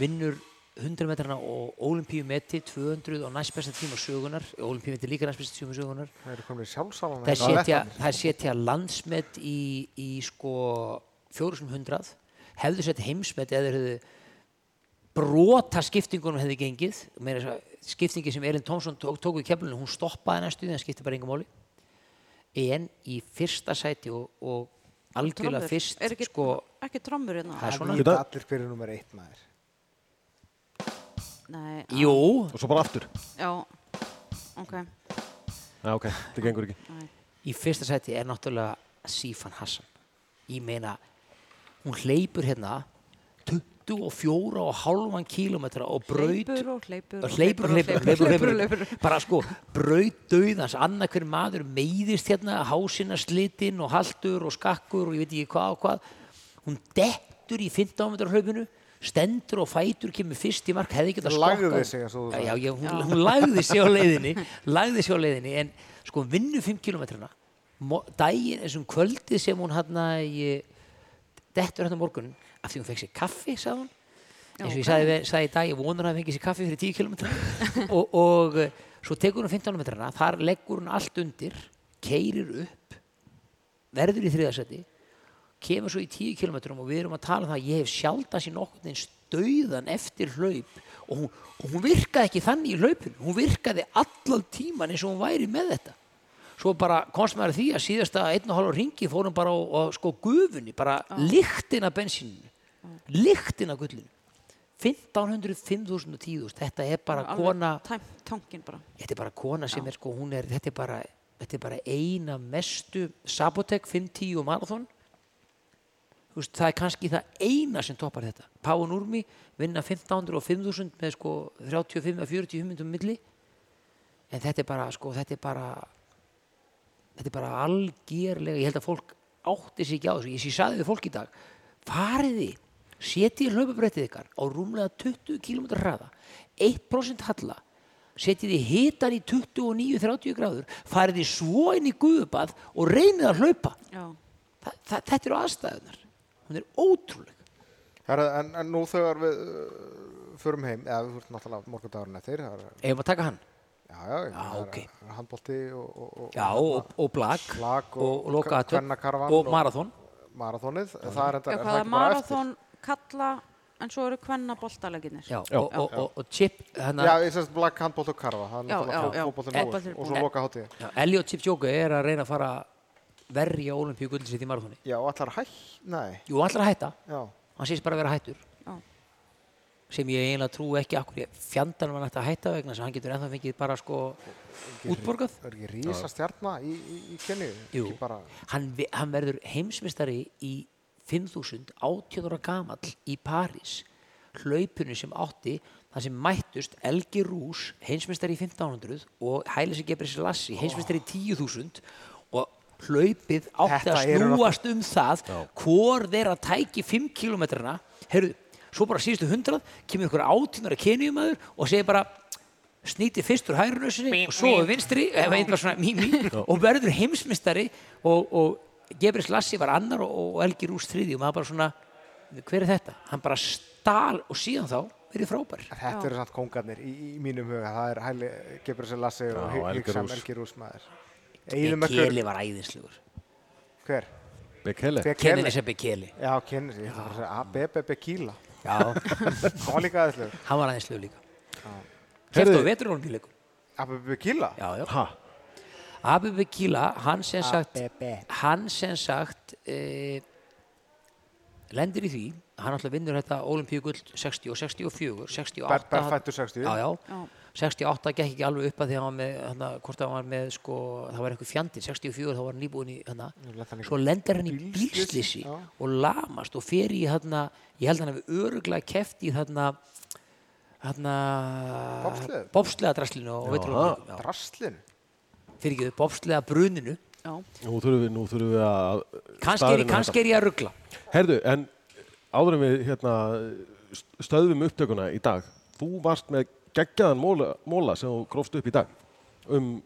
D: vinnur 100 metrana og olimpíumeti 200 og næstbesta tíma sögunar olimpíumeti líka næstbesta tíma sögunar
A: Það eru komin í sjálfsalan.
D: Það setja, þær setja landsmet í, í sko 400 hefðu sett heimsmet eða þeir hefðu brota skiptingunum hefði gengið meira þess að skiptingi sem Elin Tómsson tók, tók í keflunum, hún stoppaði næstu því en skipti bara engum máli en í fyrsta sæti og, og algjörlega
C: Trommur.
D: fyrst
C: Er ekki,
D: sko,
C: ekki trommur hérna?
D: það er svona
A: Vita allir hverju nummer eitt maður.
C: Nei,
D: jú,
B: Og svo bara aftur.
C: já, ok,
B: Já, ok, þetta gengur ekki.
C: nei.
D: í fyrsta sæti er náttúrulega Sifan Hassan ég meina, hún hleypur hérna 24 og hálfan kílómetra og braut
C: Hleypur og hleypur
D: og hleypur, hleypur, hleypur, hleypur, hleypur, bara sko, braut dauðans annað hver maður meiðist hérna hásina slitinn og haltur og skakkur og ég veit ekki hvað og hvað hún dettur í 15 metra hlaupinu stendur og fætur kemur fyrst í mark hefði getað
A: Lagði
D: skokkað.
A: sig, eins og þú
D: já,
A: sagðir.
D: já, já, hún, hún lagði sig á leiðinni lagði sig á leiðinni en sko hún vinnur 5 kilometrana mo- daginn, þessum kvöldið sem hún hérna í dettur hérna morgun af því hún fekk sér kaffi, sagði hún eins og ég sagði, við- sagði í dag, ég vonar að hann fengi sér kaffi fyrir 10 km og, og eh, svo tekur hún 15 metrana, þar leggur hún allt undir keirir upp verður í þriðasetti kemur svo í 10 km og við erum að tala um það að ég hef sjaldan sér nokkurn veginn stauðan eftir hlaup og hún, og hún virkaði ekki þannig í hlaupinu hún virkaði allan tíman eins og hún væri með þetta svo bara komst maður að því að síðasta einn og halvur ringi fórum bara á, á sko gufunni, bara ah. lyktin af bensininu, lyktin af gullinu 1500, 5000 og 10.000 þetta er bara kona
C: Tæmt tankin bara.
D: þetta er bara kona sem er sko, hún er, þetta er bara, þetta er bara eina mestu Sabotek 5-10 og Marathon Þú veist, það er kannski það eina sem toppar þetta Páun Úrmi vinna 1500 og 5000 með sko 35 að 40 humundum milli en þetta er bara sko, þetta er bara þetta er bara algjörlega ég held að fólk átti sig ekki á þessu ég sé saði við fólk í dag fariði, setjið hlaupabrettið ykkar á rúmlega 20 km hraða 1% halla setjið þið hitan í 29-30 gráður farið þið svo inn í guðbað og reynið að hlaupa
C: Já,
D: Þa, það, þetta eru aðstæðunar hún er ótrúleg
A: Herra, en, en nú þegar við uh, förum heim, eða þú ert náttúrulega morgundagurinn eftir, það er,
D: ef maður taka hann
A: já, já, já,
D: ok.
A: er handbólti og, og, og
D: Já, og, og blag,
A: Blak og
D: og loka
A: kvennakarfan
D: og
A: og-
D: marathon
A: marathónið, það er enda,
C: já
A: er það
C: hvað er
A: ekki bara eftir?
C: marathon, kalla, en svo eru hvenna boltaleginir.
D: já, og, og, og, og chip hana,
A: Já, ég sést black handbólt og karfa, það er
C: Já, já, já.
A: náttúrulega fótbóltinn
C: Eh,
A: núið
C: fótboltinn
A: og
C: búinn.
A: svo loka hátíð.
D: Já, Elliot Kipchoge er að reyna að fara verja olimpíu gullsitt í marathoni.
A: Já, og allar hæ, nei,
D: Jú, hann ætlar að hætta,
A: já,
D: hann sést bara að vera hættur
C: Já.
D: sem ég eiginlega trú ekki akkur ég fjandanum hann ætti að hætta vegna þess að hann getur ennþá fengið bara sko útborgað.
A: það er ekki rísa stjarnar í, í, í kennu,
D: Jú,
A: ekki bara,
D: hann, vi- hann verður heimsmystari í 5000, 18 ára gamall í París, hlaupinu sem átti, það sem mættust Elgi Rús, heimsmystari í 1500 og Hælisi Gebris Lassi, heimsmystari í 10.000 og hlaupið átti
A: Þetta
D: að
A: eru náttúrulega-
D: snúast um það hvor þeirra tæki 5 kilometrana, heyrðu, svo bara síðustu 100 kemur ykkur átímara kenjumæður og segir bara snýti fyrst úr hægri nössinni og svo við vinstri eða eitthvað svona mí, mí, og verður heimsmyndstari og, og Gebris Lassi var annar og, og Elgi Rús þriði og maður bara svona hver er þetta? Hann bara stal og síðan þá verið frábær
A: þetta eru samt kongarnir í, í mínum huga, það er hæli, gefur þessi Lassi og
B: Já, Helgi
A: Hyggsam,
B: Rúss.
A: Elgi Rús maður. Eyðum ekkur,
D: Bekeli var æðislegur
A: hver?
B: Bekele.
D: Kenni
A: Bekele.
D: þessi Bekeli
A: Já, kennir, ég ætla bara að segja ABB Bekíla.
D: Já,
A: Það var líka aðeinslegur.
D: hann var æðislegur líka
B: Heyrðu-
D: Kæftu á veturólmíleikum
A: ABB Bekíla?
D: Já, já
B: Ha,
D: Abi Bekila, hann sem sagt
A: ABB.
D: hann sem sagt e, lendir í því, hann alltaf vinnur þetta olimpíugull 60 og 64, 68
A: Ber- berfættur 60.
D: já, já,
C: Já.
D: 68 gekk ekki alveg upp að því að hann var með, hana, hvort það var með sko, það var eitthvað fjandinn, 64 þá var hann nýbúin í hana,
A: lenti hann í
D: svo lendir hann í
A: bílslysi,
D: bílslýsi
A: já.
D: og lamast og fer í hana, ég held hann hefur öruglega keft í hérna, hana hana
A: Bobsleðu?
D: bobslega draslinu og veitur
A: Drastlin?
D: fyrir ekki bobslega bruninu
C: Já.
B: Nú þurfum við, nú þurfum við að
D: kannski er,
B: staðreyna
D: ég- kannski er ég að ruggla
B: þetta. Herðu, en áður en við hérna, st- stöðvum upptökuna í dag þú varst með geggjaðan móla, móla sem þú grófst upp í dag um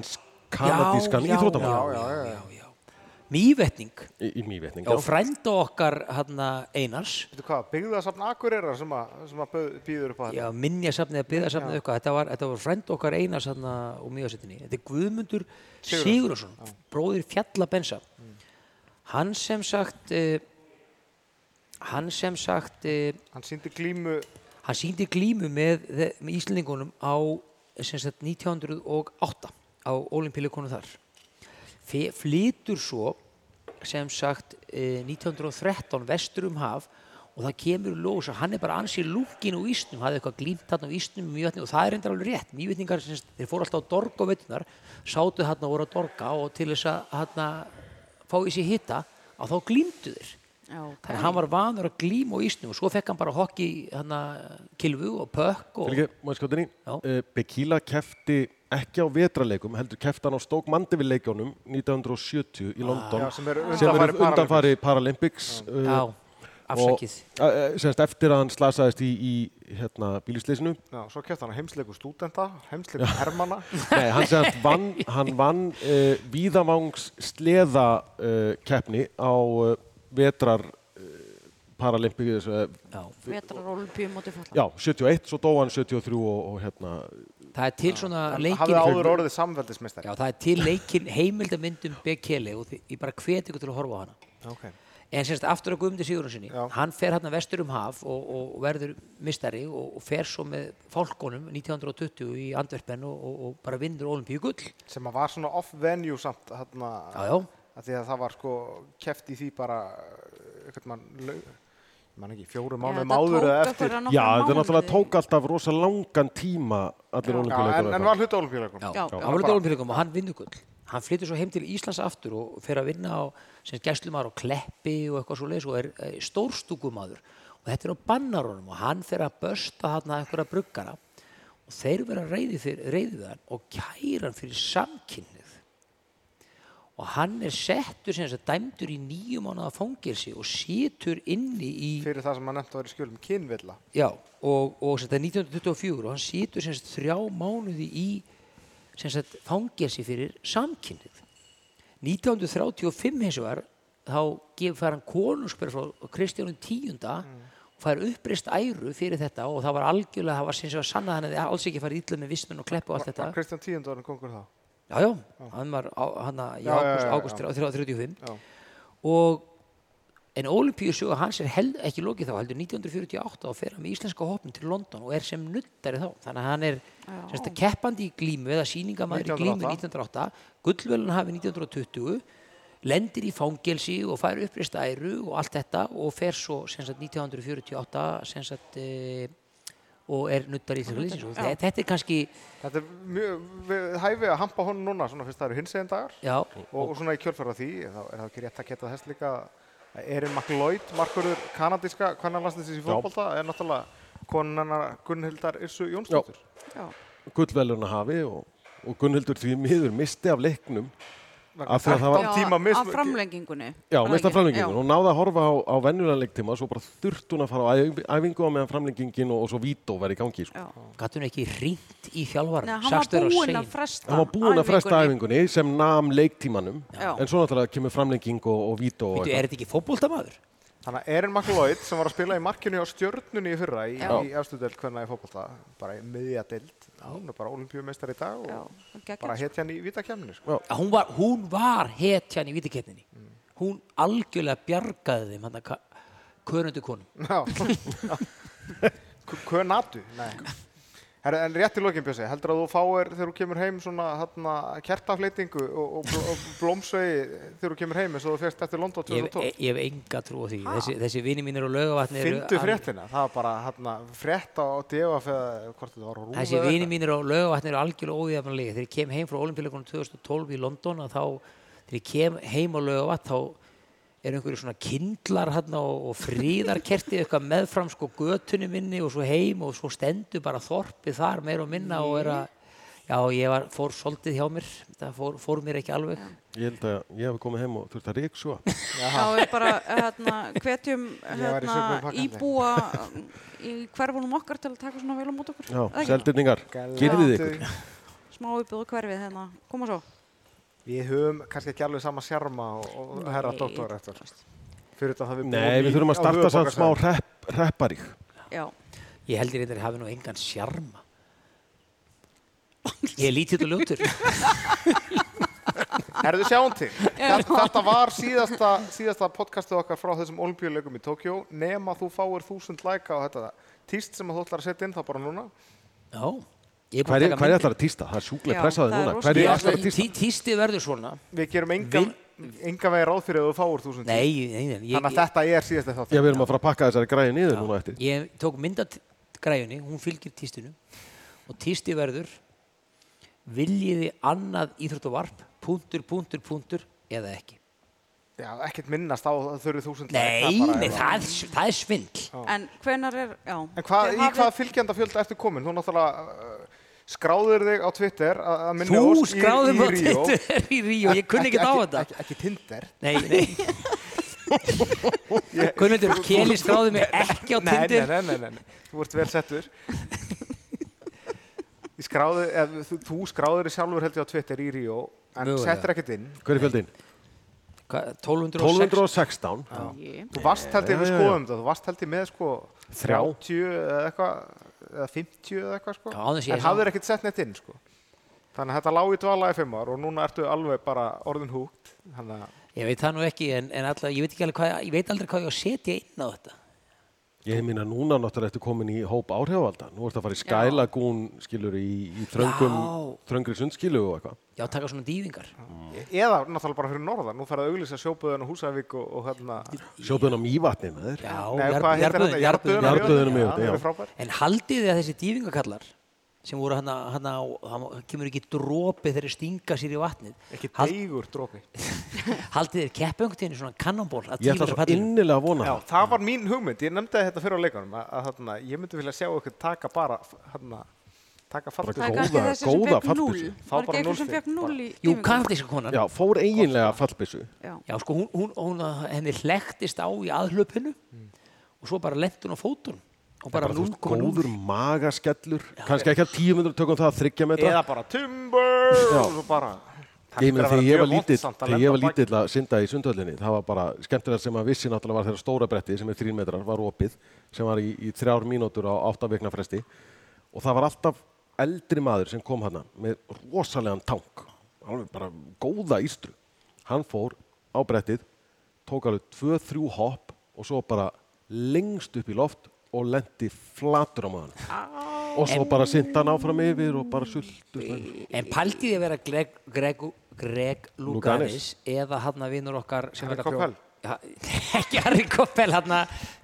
B: íslensk-kanadískan
D: já,
B: íþróttamann
D: já, já, já, já. Mývetning
B: í, í mývetning
D: og frænda okkar hana, Einars
A: Veitu hvað, byggðasafn Akureyrar sem að, sem að bauð- býður upp á þetta?
D: já, minjasafnið að byggðasafnið eitthvað þetta var, þetta var frænd okkar Einars hana, og mývasettinni þetta er Guðmundur
A: Sigurðarson.
D: Sigurðarsson bróðir Fjallabensa hann sem sagt uh, hann sem sagt uh,
A: Hann síndi glímu
D: hann síndi glímu með, með Íslandingunum á sem sagt 1908 á olimpíuleikunum þar Fe, flytur svo sem sagt eh, 1913 vestur um haf og það kemur í ljós að hann er bara ansið lúkin úr Ísnum, hann hafði eitthvað glímt hann á Ísnum mjög, og það er endur alveg rétt mývetningar, sem sagt, þeir fóru alltaf á dorg og veitunar sátu hann og voru að dorga og til þess að hann fá í sig hitta að þá glímdu þeir
C: Já.
D: Þannig að hann var vanur að glíma á ísnum og svo fekk hann bara hokki hana, kilfu og pökk og
B: Fylgir, maður skotinni,
D: Já.
B: uh, Bekila kefti ekki á vetraleikum, heldur kefti hann á Stók Mandeville-leikunum 1970 í London,
A: Ah, já, sem eru Mm.
B: sem
A: undanfari
B: eru undanfari Paralympics. Uh,
D: já, afsakið.
B: Og, uh, semst eftir að hann slasaðist í, í hérna, bílisleysinu.
A: Já, svo kæft hann heimsleiku stúdenta, heimsleiku hermana
B: Nei, hann semst vann, hann vann uh, víðavangs sleða uh, keppni á uh, vetrar uh, Paralympics, uh,
D: Já.
C: Vetrar olimpíu móti falla.
B: já, 71, svo dó hann 73 og, og hérna,
D: Það er til svona
A: Hafði áður
D: leikin,
A: orðið samveldismestari
D: já, það er til leikin heimildamyndum Bekele og því, ég bara hveti ykkur til að horfa á hana.
A: okay.
D: En semst aftur að Guðmundi Sigurðarssoni,
A: Já.
D: hann fer hérna vestur um haf og, og og verður mistari og, og fer svo með fálkonum 1920 í Andverpen og, og, og bara vinnur olimpíu gull.
A: sem að var svona off-venue samt þarna,
D: Já, já.
A: að því að það var sko kæft í því bara eitthvað mann laug, mann ekki, fjóru mánuðum áður eða eftir
B: já, þetta náttúrulega tók alltaf rosa langan tíma allir
A: Já, en, en
B: olimpíuleikum.
A: var hluti olimpíuleikum
D: Já,
C: Já.
D: já. hann var út á olimpíuleikum og hann vinnur gull. Hann flyttur svo heim til Íslands aftur og fer að vinna á sem gæslumar og kleppi og eitthvað svo leiðis og er eh, stórstúkumadur. Og þetta er á bannarónum og hann fer að bösta þarna einhverja bruggara og þeir vera reyði, fyrir, reyði við hann og kæra hann fyrir samkynnið. Og hann er settur sem þess að dæmdur í nýju mánuða fangilsi og situr inni í
A: fyrir það sem hann nefnt að vera í skjölum kynvilla
D: Já, og, og sem sagt 1924 og hann situr sem sagt þrjá mánuði í sem sagt fangelsi fyrir samkynnið. 1935 hins vegar þá gefur fær hann konungsbyrð frá Kristjánum tíunda
A: Mm.
D: og fær uppreist æru fyrir þetta og það var algjörlega, það var sem sagt sannað að hann hefði alls ekki farið illa með vissmenn og kleppu og allt þetta.
A: var Kristján Tíund orðin kongur þá
D: Já, já, hann var á- hann að- í
A: Já, já, já, já.
D: águst 35
A: Já.
D: og en Olympíu sögur hans er held, ekki lokið þá heldur 1948 og fer hann með íslenska hópin til London og er sem nuttari þá þannig að hann er semst, keppandi í glímu eða sýningamæður í glímu 1908 gullvölun hafi 1920 lendir í fangelsi og fær uppreist æru og allt þetta og fer svo sem sagt, 1948 sem sagt, e, og er nuttari í þessu
C: Já.
D: þetta er kannski
A: þetta er mjög, við hæfi að hampa honum núna svona fyrst það eru hinsegin dagar
D: já,
A: og, og svona í kjölfæra því þá er það ekki rétt að geta þess líka að Erin McLeod, markurður kanadíska kvennalanslisins í fótbolta er náttúrulega konunnar Gunnhildar Irsu Jónsdóttur
C: Já.
B: gullveluna hafi og, og Gunnhildur því miður misti af leiknum af því að það var,
A: Þrettán.
C: Já,
A: tíma mis-
C: af framlengingunni.
B: já,
C: Var það
B: mista
C: ekki?
B: framlengingin
C: Já.
B: hún náði að horfa á, á venjulega leiktíma svo bara þurft hún að fara á æf- æfingu á meðan framlengingin og, og svo vító verið í gangi sko.
C: Já.
D: Gat hún ekki ringt í þjálfvaran?
C: Nei, hann var búinn að fresta
B: hann var búinn að fresta
C: æfingunni.
B: æfingunni sem nam leiktímanum
C: Já.
B: en svo náttúrulega kemur framlenging og, og vító og
D: Býtu, er þetta ekki fótboltamaður?
A: Þannig að Erin McLeod sem var að spila í markinu á stjörnunni í fyrra í,
C: Já.
A: í efstu deild hvernig í fótbolta, bara í miðja deild, hún er bara olimpíumeistar í dag og
C: Já, geggjað,
A: bara
C: sko.
A: hetja hann í vitakemni. Sko.
D: Já, Hún var, hún var hetjan í vítaketninni.
A: Mm.
D: Hún algjörlega bjargaði þeim hann að körundu konum.
A: Já. K- Könatu? Nei. Herra, en rétt í lokin Bjössi, heldur að þú fáir þegar þú kemur heim svona hérna, kertafleitingu og, og, bl- og blómsvegi þegar þú kemur heim eins og þú fyrst eftir London
D: Ég, hef-
A: 2012?
D: ég hef enga trú á því. Þessi, þessi vini mínir á laugavatni
A: Fyndu fréttina, það var bara hérna, frétt á DF eða hvort þetta var á rúðu
D: Þessi vini mínir á laugavatni eru algjörlega óðjafnlega. Þegar ég kem heim frá olimpíuleikunum 2012 í London að þá, þegar ég kem heim á laugavatn þá eru einhverju svona kindlar hérna og, og fríðarkerti eitthvað meðfram sko götunni minni og svo heim og svo stendur bara þorpið þar meir og minna og er að Já, ég var, fór svolítið hjá mér, það fór, fór mér ekki alveg.
B: Ég held að ég hef komið heim og þurft að rík svo.
C: þá er bara hérna, hvetjum
A: Ég var í sömu
C: hérna,
A: pakkandi.
C: íbúa í hverfunum okkar til að taka svona vel á mót okkur
B: Já,
C: Eða ekki?
B: seldurningar, gerðið ykkur.
C: smá uppbúðu hverfið hérna koma svo
A: Við höfum kannski ekki alveg sama sjarma og, og herra
C: Nei.
A: doktor eftir. Fyrir þetta það við
B: Nei, við þurfum að starta samt smá rep, repparík.
C: já,
D: Ég heldur þetta hafi nú engan sjarma. Ég er lítill og ljótur.
A: Herðu sjáum til. Þetta, þetta var síðasta, síðasta podcastu okkar frá þessum olimpíuleikum í Tókjó. Nema þú fáir þúsund læka á þetta tíst sem að þú ætlar að setja inn þá bara núna.
D: Já, ég
B: Hvað
D: er
B: er hvað
D: búin að
B: er
D: taka
B: ætlar að týsta? Það er
C: Já,
B: sjúklega pressaði
C: það er
B: núna.
C: rosa-
B: Hvað er
A: Ég-
B: ætlar að
D: mynd.
B: týsta?
D: Tí- Tísti verður svona.
A: Við gerum engan, engan veginn ráð fyrir að þú fáir þúsund.
D: Nei, nei, nei. Ég,
A: Þannig að
D: ég,
A: þetta er síðasta
B: Já,
A: þátt.
B: við erum að fara að pakka þessari græði niður núna eftir.
D: ég tók myndat græjunni, hún fylgir tístinu og tísti verður viljiði annað íþrótt og varp, punktur, punktur, punktur eða ekki.
A: Já, ekkert minnast á þurru þúsund læka.
D: Nei,
A: bara-
D: nei, það, er s- það er svindl.
C: en hvenar er já,
A: En hvað,
C: þið
A: í
C: hafið-
A: hvaða fylgjanda fjölda ertu komin? Þú náttúrulega uh, skráður þig á Twitter að að minni
D: Þú
A: ósk í-
D: skráðum
A: í
D: á
A: Ríó.
D: Twitter í Ríó, ég kunni ekkert á þetta.
A: Ekki, ekki Tinder.
D: Nei, nei. Kunnundur, Keli skráði mig ekki á
A: Nei, nei,
D: Tinder.
A: nei, nei, nei, nei. Þú ert vel settur. Ég skráði, ef, þú, þú skráður þig sjálfur held ég á Twitter í Ríó, en
D: Mögulega.
A: settir ekkert inn.
B: Hver er fjöldin?
D: Hvað, 1206
B: 1216.
C: Ég-
A: Þú varst held ég, við
B: Já, já, já.
A: skoðum þetta, þú varst held ég með sko
B: Þrjá.
A: 30 eða eitthvað, eða 50 eða eitthvað sko.
D: Já, áður en sé ég
A: en
D: sá.
A: hafðir ekkert sett neitt inn sko. Þannig að þetta lág í dvala í fimm ár og núna ertu alveg bara orðin húgt. Þannig að
D: Ég veit það nú ekki, en, en alltaf, ég veit ekki alveg hvað, ég veit aldrei hvað ég á að setja inn á þetta.
B: Ég minna núna náttúrulega eftir komin í hóp áhrifvalda. Nú ertu að fara í skælagún, skilur, í, í þröngum,
D: Já.
B: þröngri sundskilu og eitthvað.
D: Já, taka svona dýfingar.
A: eða náttúrulega bara fyrir norðan, nú færðu að auglýsa sjóböðun og Húsavík og, og hérna...
B: Sjóðbjörn á mývatni með þér.
D: Já,
A: Nei,
D: jarð-
A: hvað heitir þetta?
D: jarðböðin- jarðböðin-
B: Jarðböðin. Jarðböðunum
A: Jarðböðunum,
B: í
A: já,
B: þetta,
A: það
B: já.
A: eru frábær.
D: En haldið þið að þessi dýfingakallar sem voru hann að, það kemur ekki dropi þegar þeir stinga sér í vatnið.
A: Ekki
D: Hald-
A: deigur dropi.
D: Haldið þið keppengtíðinu svona kannonból að
B: Ég ætla svo
D: dýfingakallinu?
B: innilega að vona
A: Já,
B: það.
A: það var mín hugmynd, ég nefndi þetta fyrir á leikunum að, að þarna, ég myndi vilja sjá ykkur taka bara hérna, taka fallið
C: það er
B: Góða-
C: kannski þessi sem
B: góða
C: fekk
B: fallbyssu.
C: 0
A: Fá
C: var
A: bara
C: ekki einhver sem
A: núll
C: fekk
A: stig,
C: 0 í
D: Jú,
C: tímingu?
D: kanadíska konan.
B: Já, fór eiginlega að fallbissu.
C: Já.
D: Já, sko, hún, hún, hún henni hlektist á í aðhlöpinu og svo bara lent hún á fótun og bara
B: Bara þú veist,
D: 0,0.
B: góður magaskellur. Kannski ekki að tíu myndur tökum það að þryggja metra.
A: eða bara timber
B: Já.
A: og svo bara
B: Ég meina þegar ég var lítill, þegar ég var
A: lítill
B: lítill að synda í sundhöllinni, það var bara skemmtilega sem að vissi náttúrulega var þeirra stóra bretti sem er þrín metrar, var opið, sem var í, í þrjár mínútur á átta vikna fresti og það var alltaf eldri maður sem kom hana með rosalegan tank, alveg bara góða ístru. Hann fór á brettið, tók alveg tvö, þrjú hopp og svo bara lengst upp í loft og lendi flatur á maður. Og svo bara synda hann áfram yfir og bara sultur.
D: En pæltið þið að vera Greg, Greg, Greg Luganis eða hann að vinur okkar sem
A: Harry
D: er að prjóna.
A: Koppel?
D: Ja, ekki Harry Koppel hann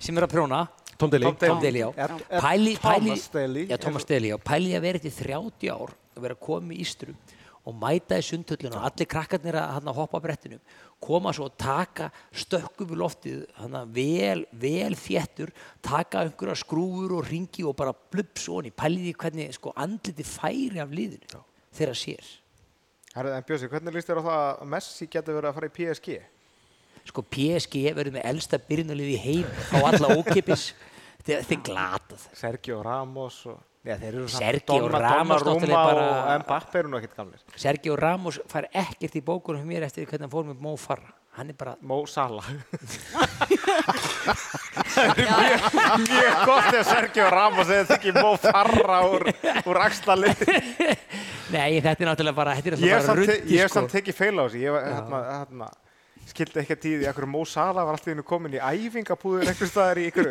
D: sem er að prjóna.
B: Tom Daley.
A: Tom Daley.
D: Tom Daley, já.
A: Er- er
D: Pæli, pæli,
A: Thomas Daley?
D: Já, Thomas Daley, já. Pælið að vera eftir 30 ár að vera komið í Ístru og mæta í sundhöllinu og allir krakkarnir að hann að hoppa á brettinu koma svo og taka stökkum í loftið hann að vel, vel þéttur taka einhverja skrúfur og ringi og bara blups onni pælið því hvernig sko andliti færi af liðinu þegar sér
A: Herðu, en Bjössi, hvernig líst þér á það að Messi getur verið að fara í PSG?
D: sko PSG verður með elsta byrjunalið í heim á alla ókipis þegar þeir glatað
A: Sergio Ramos og... Já, þeir eru samt
D: Sergio
A: Donna-
D: Ramos
A: Donnarumma
D: náttúrulega bara-
A: og Mbappe eru nú ekkert gamlir.
D: Sergio Ramos fær ekkert í bókunum hjá mér eftir hvernig hann fór með Mo Farah hann er bara
A: Mo Salah. það er mjög, mjög gott ef Sergio Ramos eða þykir Mo Farra úr, úr axlalið.
D: nei þetta er náttúrulega bara þetta er
A: Ég hef
D: bara
A: samt, te
D: ruddi,
A: ég hef
D: sko.
A: samt tekið feil á þessu, ég var, hérna, hérna, skildi ekki að tíði, akkur Mó Sala var alltaf innu komin í æfingabúður einhvers staðar í ykkur,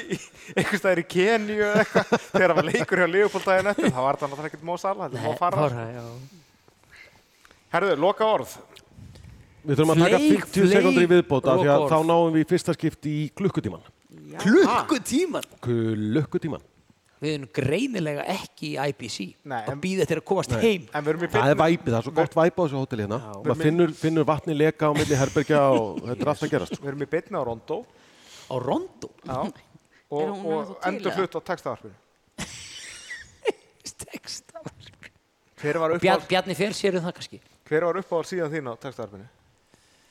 A: í, einhvers staðar í Keníu eða eitthvað þegar það var leikur hjá Leopold daginn eftir þá var það náttúrulega ekkert Mó Sala, þetta var fara
D: fara, já.
A: Herðu, loka orð
B: Við þurfum að taka
D: Fleik,
B: 50 sekundri
D: fleik,
B: viðbót af því að
D: lokaorð.
B: þá náum við í fyrsta skipti í klukkutíman.
C: Já.
D: Klukkutíman!
B: Klukkutíman.
D: Við erum greinilega ekki í IBC
A: Nei, en-
D: að býða eftir að komast heim.
A: en við erum í
B: Það er
A: beinni,
B: væpið, það er svo gott væp á þessu hóteli hérna. Maður finnur, finnur vatni leka á milli herbergja og þetta er allt að gerast.
A: við erum í beinni á Rondó
D: Á Rondo.
A: já,
C: Er
A: og,
C: hún
A: og
C: ennþá til,
A: endur flutt á textavarpinu
D: Tekst.
A: hver var
D: Bjar,
A: uppáhald
D: Bjarni Fer sér um það kannski.
A: hver var uppáhald síðan þín á textavarpinu?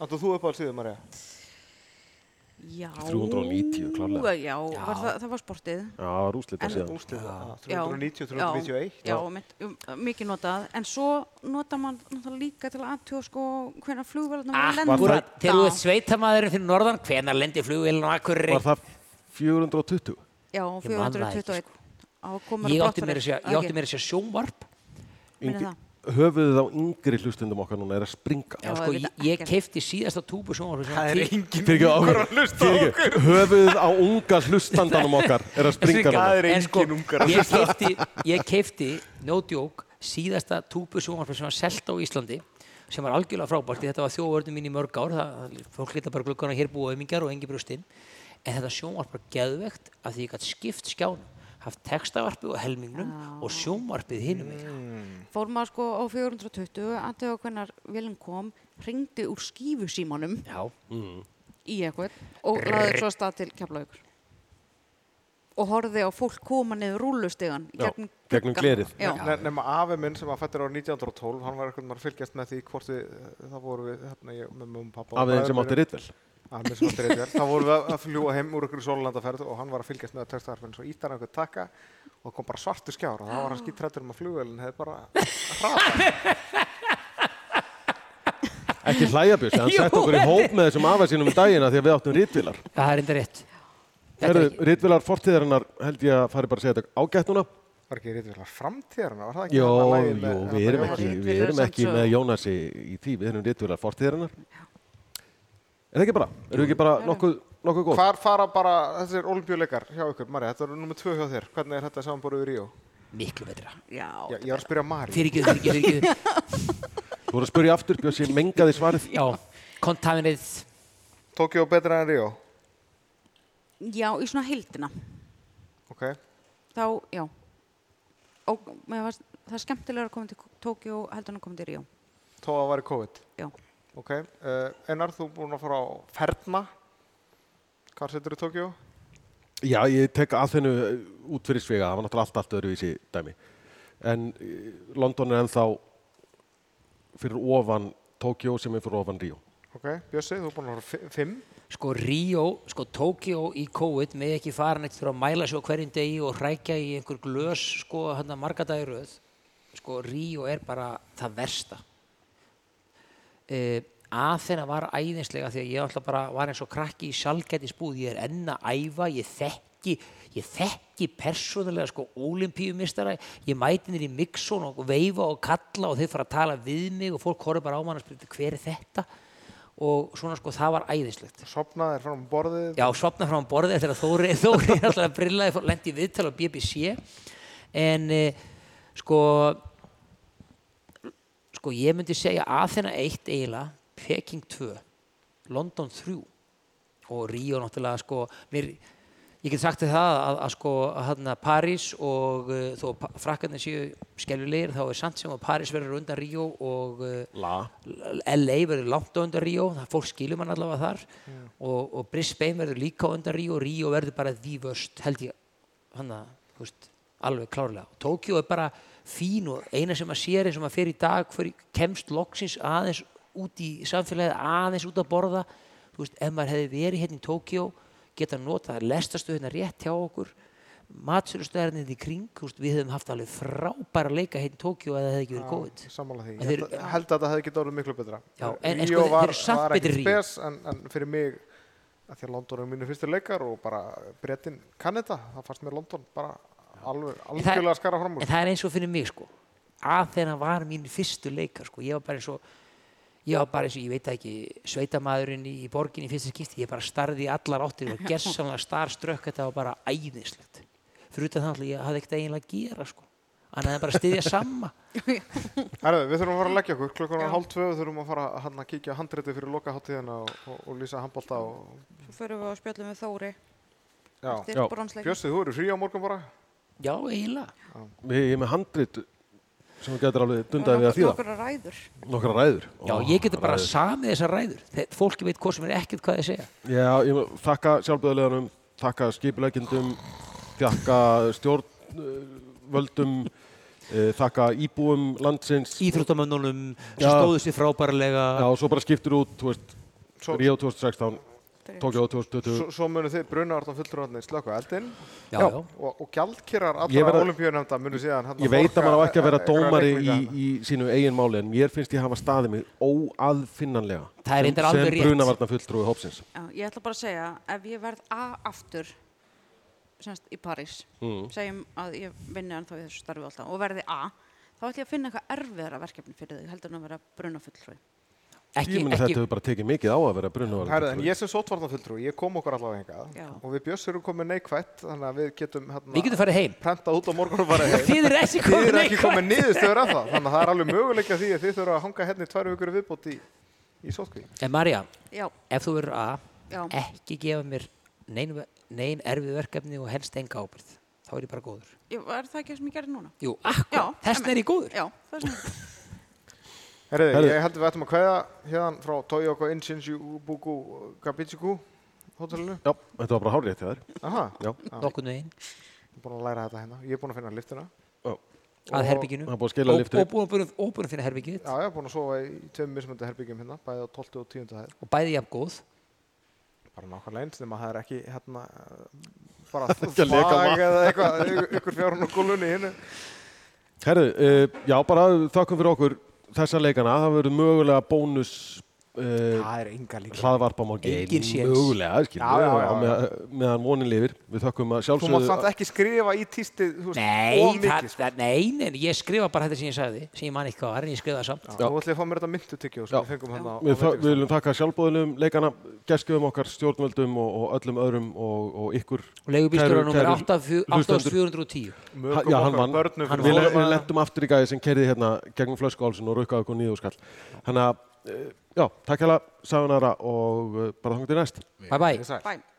A: Andu þú uppáhald síðan, Marja?
C: Já.
B: 390 klárlega.
C: Já, var það, það var sportið.
B: Já, rúslita
C: En-
B: síðan.
A: Úslið,
C: Já.
A: 390, 391
C: Já, já mitt, um, mikið notað. En svo nota mann náttúrulega líka til að aðtjóða sko hvernig flugverðarnar voru að lenda.
D: Akkurat, Ah, þegar þú ert sveitamæðurinn fyrir norðan, hvenar lendir flugvélun á Akureyri?
B: Var það 420?
C: Já,
D: Ég man það ekki, sko.
C: 421. Á komur
D: Ég átti mér að segja, ég átti mér að segja sjónvarp.
C: Minni
B: Ingi-
C: það.
B: Höfuðið á yngri hlustundum okkar núna er að springa.
D: Já,
C: Já,
D: sko,
C: auðvitað
D: ég, ég
C: ekkert.
D: keipti síðasta túbu sjónvarp.
A: það er engin
B: Fyrir ekki
A: ungur
B: okkur,
A: að hlusta á
B: fyrir
A: okkur
B: ekki, höfuðið á unga hlustandanum okkar er að springa
A: Það
B: núna.
A: er engin ungar að
D: sko, Ég keipti, ég keipti, no joke, síðasta túbu sjónvarp sem var selt á Íslandi sem var algjörlega frábært, því þetta var þjóðvörnum mín í mörg ár, það, það- fólk lita bara gluggana hér búa ömingjar og engi brjóstinn, en þetta sjónvarp var geðvegt að því ég gætt skipt skjánum, haft textavarpið og helmingnum og sjónvarpið hinum mm.
C: Fór maður sko á 420, aðtjóða hvernig vilin kom, ringdi úr skífusímanum
D: Já,
C: í eitthvað og laði svo af stað til keflaugur. Og horfði á fólk koma niður rúlustegan
B: Já,
C: gegnum,
B: gegnum
C: gluggann.
B: glerið.
C: Já,
A: Ne- nema afi minn sem að fættir árið 1912 hann var eitthvað maður að fylgjast með því hvort við, það voru við hérna ég með mömmu og pappa og
B: Af þeim sem
A: bræður
B: átti rittvel.
A: mínum. Afi minn sem átti ritverð þá vorum við að- að fljúa heim úr ykkur sólulandaferð og hann var að fylgjast með textarfinn svo ítti hann einhvern takka og kom bara svartu skjár og þá var hann skítrættur um að flugvelin hefði bara hraða
B: Ekki hlæjabjössi, hann sett okkur í hóp með þessum afa sínum um dagina því að við áttum rittvilar.
D: það er enda rétt. Þetta er
B: Herðu,
D: ekki-
B: rittvilar fortíðarinnar held ég að fari bara að segja þetta ágætt núna.
A: var ekki ritverðar framtíðarinn var það ekki
B: Jó,
A: þarna lagið
B: jó,
A: með-
B: við erum
A: þarna
B: ekki,
A: Jónas?
C: Jónas.
B: við erum ekki með
C: Ritvélar samt
B: Jónasi í því, við erum rittvilar fortíðarinnar. Er það ekki bara? Erum við ekki bara nokkuð, nokkuð góð?
A: hvar fara bara þessir olimpíuleikar hjá ykkur Mari, þetta eru nummer 2 hjá þér hvernig er þetta samanbúruð í Ríó?
D: miklu betra.
C: já.
A: Já, ég var að spyrja Mari
D: Fyrir ekki, fyrir ekki, fyrir ekki.
B: Þú voru að spyrja aftur, Bjössi, mengaði svarið.
D: Já, contaminated.
A: Tókjó betra en Ríó?
C: já, í svona heildina.
A: Okay.
C: þá, já og mér var það er skemmtilega að koma til Tókjó heldur en að koma til Ríó
A: Tó að væri COVID?
C: já.
A: Ok, uh, Einar, þú búinn að fara á Ferna. Hvar setur þú Tókjó?
B: Já, ég tek að þennu eh, út fyrir svega, það var náttúrulega allt, allt öðruvísi dæmi. En eh, London er ennþá fyrir ofan Tókjó sem er fyrir ofan Ríó.
A: Ok, Bjössi, þú búinn að fara á fi- fimm.
D: sko Ríó, sko Tókjó í COVID með ekki fara neitt þurfa að mæla sig á hverjum degi og hrækja í einhver glös sko hann að marga dagiröð sko Ríó er bara það versta uh, Aþena var æðinslega því að ég alltaf bara var eins og krakki í sjálfgætisbúð, ég er enn að æfa ég þekki, ég þekki persónulega sko olimpíumistara ég mæti nýr í mixun og veifa og kalla og þeir fara að tala við mig og fólk horfir bara á mann og spyrir hver er þetta og svona sko það var æðislegt
A: Sopnaði er fram á borðið.
D: Já, svapna fram á borðið þegar Þóri, Þóri alltaf brillaði, fór- lenti í viðtal á BBC en eh, sko sko ég myndi segja Athena 1 eiginlega, Peking 2 London 3 og Ríó náttúrulega sko mér, ég get sagt þér það að, að sko að hérna París og uh, þó pa- frakkarnir séu skelvilegir þá er samt sem að París verður undan Ríó og uh,
B: La.
D: LA verður langt á undan Ríó, það fólk skilur mann allavega þar og, og Brisbane verður líka á undan Ríó, Ríó verður bara því vörst held ég, hann að þú veist, alveg klárlega. Tókjó er bara fín og eina sem maður sér eins og maður fer í dag fyrir, kemst loksins aðeins út í samfélagið, aðeins út að borða þú veist, ef maður hefði verið hérna í Tókjó geta notað lestastuðina rétt hjá okkur matsölustöðarinn í kring, þú veist, við hefðum haft alveg frábæra leika hérna í Tókjó eða það hefði ekki verið COVID
A: Samála því.
D: En
A: Ég
D: þeir-
A: held, held að þetta hefði getið orðið miklu betra.
D: Já, en- en
A: Ríó
D: sko, þeir-
A: var-
D: þeir eru samt
A: var
D: betri
A: ekkert
D: Ríó.
A: spes, en, en fyrir mig, að því að London er mínu fyrstu leikar og bara brettin kann þetta, það fannst mér London bara alveg,
D: En það-
A: algjörlega að skara fram úr.
D: En það er eins og fyrir mig sko að þegar var mín fyrstu leikar sko, ég var bara eins og ég var bara eins og, ég veit það ekki, sveitamaðurinn í, í borginni í fyrsta skipti, ég bara starði í allar áttir og gessanlega starströkk þetta var bara æðislegt. Fyrir utan þannig að ég hafði ekkert eiginlega að gera, sko. Annað en bara að styðja sama.
A: Herðu, við þurfum að fara að leggja okkur, klukkan er hálf tvö, við þurfum að fara hann að hérna, kíkja handreiti fyrir lokaháttíðina og, og, og lýsa handbólta og...
C: Svo förum við og spjöllum við Þóri
A: Já,
C: eftir
B: Já.
C: bronsleikin.
A: Bjössi, þú eru frí á morgun bara?
D: Já, eiginlega.
B: Ég ég er með handrit sem þú getur alveg dundaði við að þýða.
C: Okkur ræður.
B: Nokkra ræður.
D: Já,
B: Ó,
D: ég geti bara
B: ræður.
D: samið þessar ræður. Þegar fólki veit hvað sem er ekkert hvað þið segja.
B: Já, ég vil þakka sjálfböðuleganum, þakka skipulegjendum, þakka stjórnvöldum, eh, þakka íbúum landsins.
D: Íþróttamönnunum sem
B: Já.
D: stóðu sér frábærlega.
B: Já, og svo bara skiptir út, þú veist,
A: Svo-
B: Rio 2016, Tokyo
A: Svo,
B: 2020.
A: svo munu þið brunavartan fulltrúarnir slökka eldin
D: Já,
B: Já.
D: já.
A: og, og gjaldkýrar
B: Ég
A: allra
B: verð að-
A: olimpíunemnda munu síðan hérna
B: Ég veit að maður á ekki að vera
A: borga, eh,
B: dómari
A: einhverja
B: í,
A: reikninga.
B: í sínu eigin máli, en mér finnst ég hafa staðið mig óaðfinnanlega.
D: Það er
B: sem-
D: reyndar alveg rétt.
B: Sem brunavarna fulltrúi hópsins.
C: Já, ég ætla bara að segja, ef ég verð A aftur semst í París,
B: Mm.
C: segjum að ég vinni ennþá í þessu starfi alltaf og verði A, þá ætla ég að finna eitthvað erfiðara verkefni fyrir þig, heldur en að vera brunafulltrúi.
D: Ekki,
B: ég meina þetta
D: ekki,
B: hefur bara tekið mikið á að vera brunavarna
A: Herðu, en ég sem sótvartan fulltrúi, ég kom okkur allavega hingað
C: Já.
A: og við Bjössi erum komið neikvætt þannig að við getum hérna
D: við getum farið heim.
A: prentað út á morgun og bara heim
D: Þið er ekki
A: Þið
D: komin
A: eru ekki komið niðurstöður af það þannig að það er alveg möguleika því að þið þurfa að hanga hérna í tvær vikur í viðbót í, í sótkví
D: En Marja,
C: Já,
D: ef þú verður að
C: Já.
D: ekki gefa mér nein, nein erfið verkefni og helst enga ábyrð þá er ég bara góður
C: ég, er það ekki það sem ég gerði núna?
D: Jú, akkur,
C: Já,
D: þess vegna er ég góður
C: Já, það er svona.
A: Herðu,
B: Herðu.
A: ég heldur við ættum að kveða hérna frá Toyoko Inshinjubuku Gabichiku hótelinu
B: Já, þetta var bara hárétt hjá þér.
A: Aha,
B: Já,
D: nokkurnu einn
A: búin að læra þetta hérna, ég er búin að finna lyftuna
B: já.
A: Og-
D: að herbygginu
B: það er búið að skila lyftu.
D: og búin að finna herbyggið þitt.
A: Já, ég er búin að sofa í tveim mismöndu herbyggjum hérna, bæði á 12. og 10. hæð.
D: og bæði jafn góð
A: Bara nákvæmlega eins, nema það er ekki hérna, eh, bara
B: ekki að leka
A: þvag
B: vatn.
A: eða eitthvað, y- ykkur fjárun og gólunni hinnu.
B: Herðu, uh, já, bara þakkum fyrir okkur þessa leikana. Það verður mögulega bónus uh,
A: Það er enga líka.
B: hlaðvarp á morgun.
D: Engin séns.
B: Mögulega, skil.
A: Já, já, já,
B: Á
A: já.
B: meðan- meðan vonin lifir. Við þakkum
A: Þú
B: að
A: mátt samt
B: sjálfsögðu.
A: ekki skrifa í tístið, þú veist,
D: Nei,
A: of
D: það,
A: mikið. sko.
D: það, nei, nei, ég skrifa bara þetta sem ég sagði sem ég man ekki hvað var en ég skrifa það samt
A: Já, Nú ætlum ég að fá mér þetta myndutyggjóð sem
B: Já.
A: við fengum hérna á
B: Við, þa- við
A: veitingastaðnum.
B: viljum þakka sjálfbóðilegum leikana, geskjöfum okkar, stjórnvöldum og, og öllum öðrum og, og ykkur.
D: og leigubílstjóra
B: Kæru-
D: númer
B: kæru
D: 8410
A: Mökum
B: Já, hann
A: okkar
B: vann.
A: börnum
B: Hann
A: fyrir
B: við, le-
A: þolinmæði.
B: við lendum aftur í gæði sem kerði hérna gegnum flöskuálsun og rukkaði okkur nýðu skall. Þannig að, eh, já, takk hérna, sæðunara og eh, bara þangt í næst.
D: Bye bye
A: Sæl.
C: Bæm.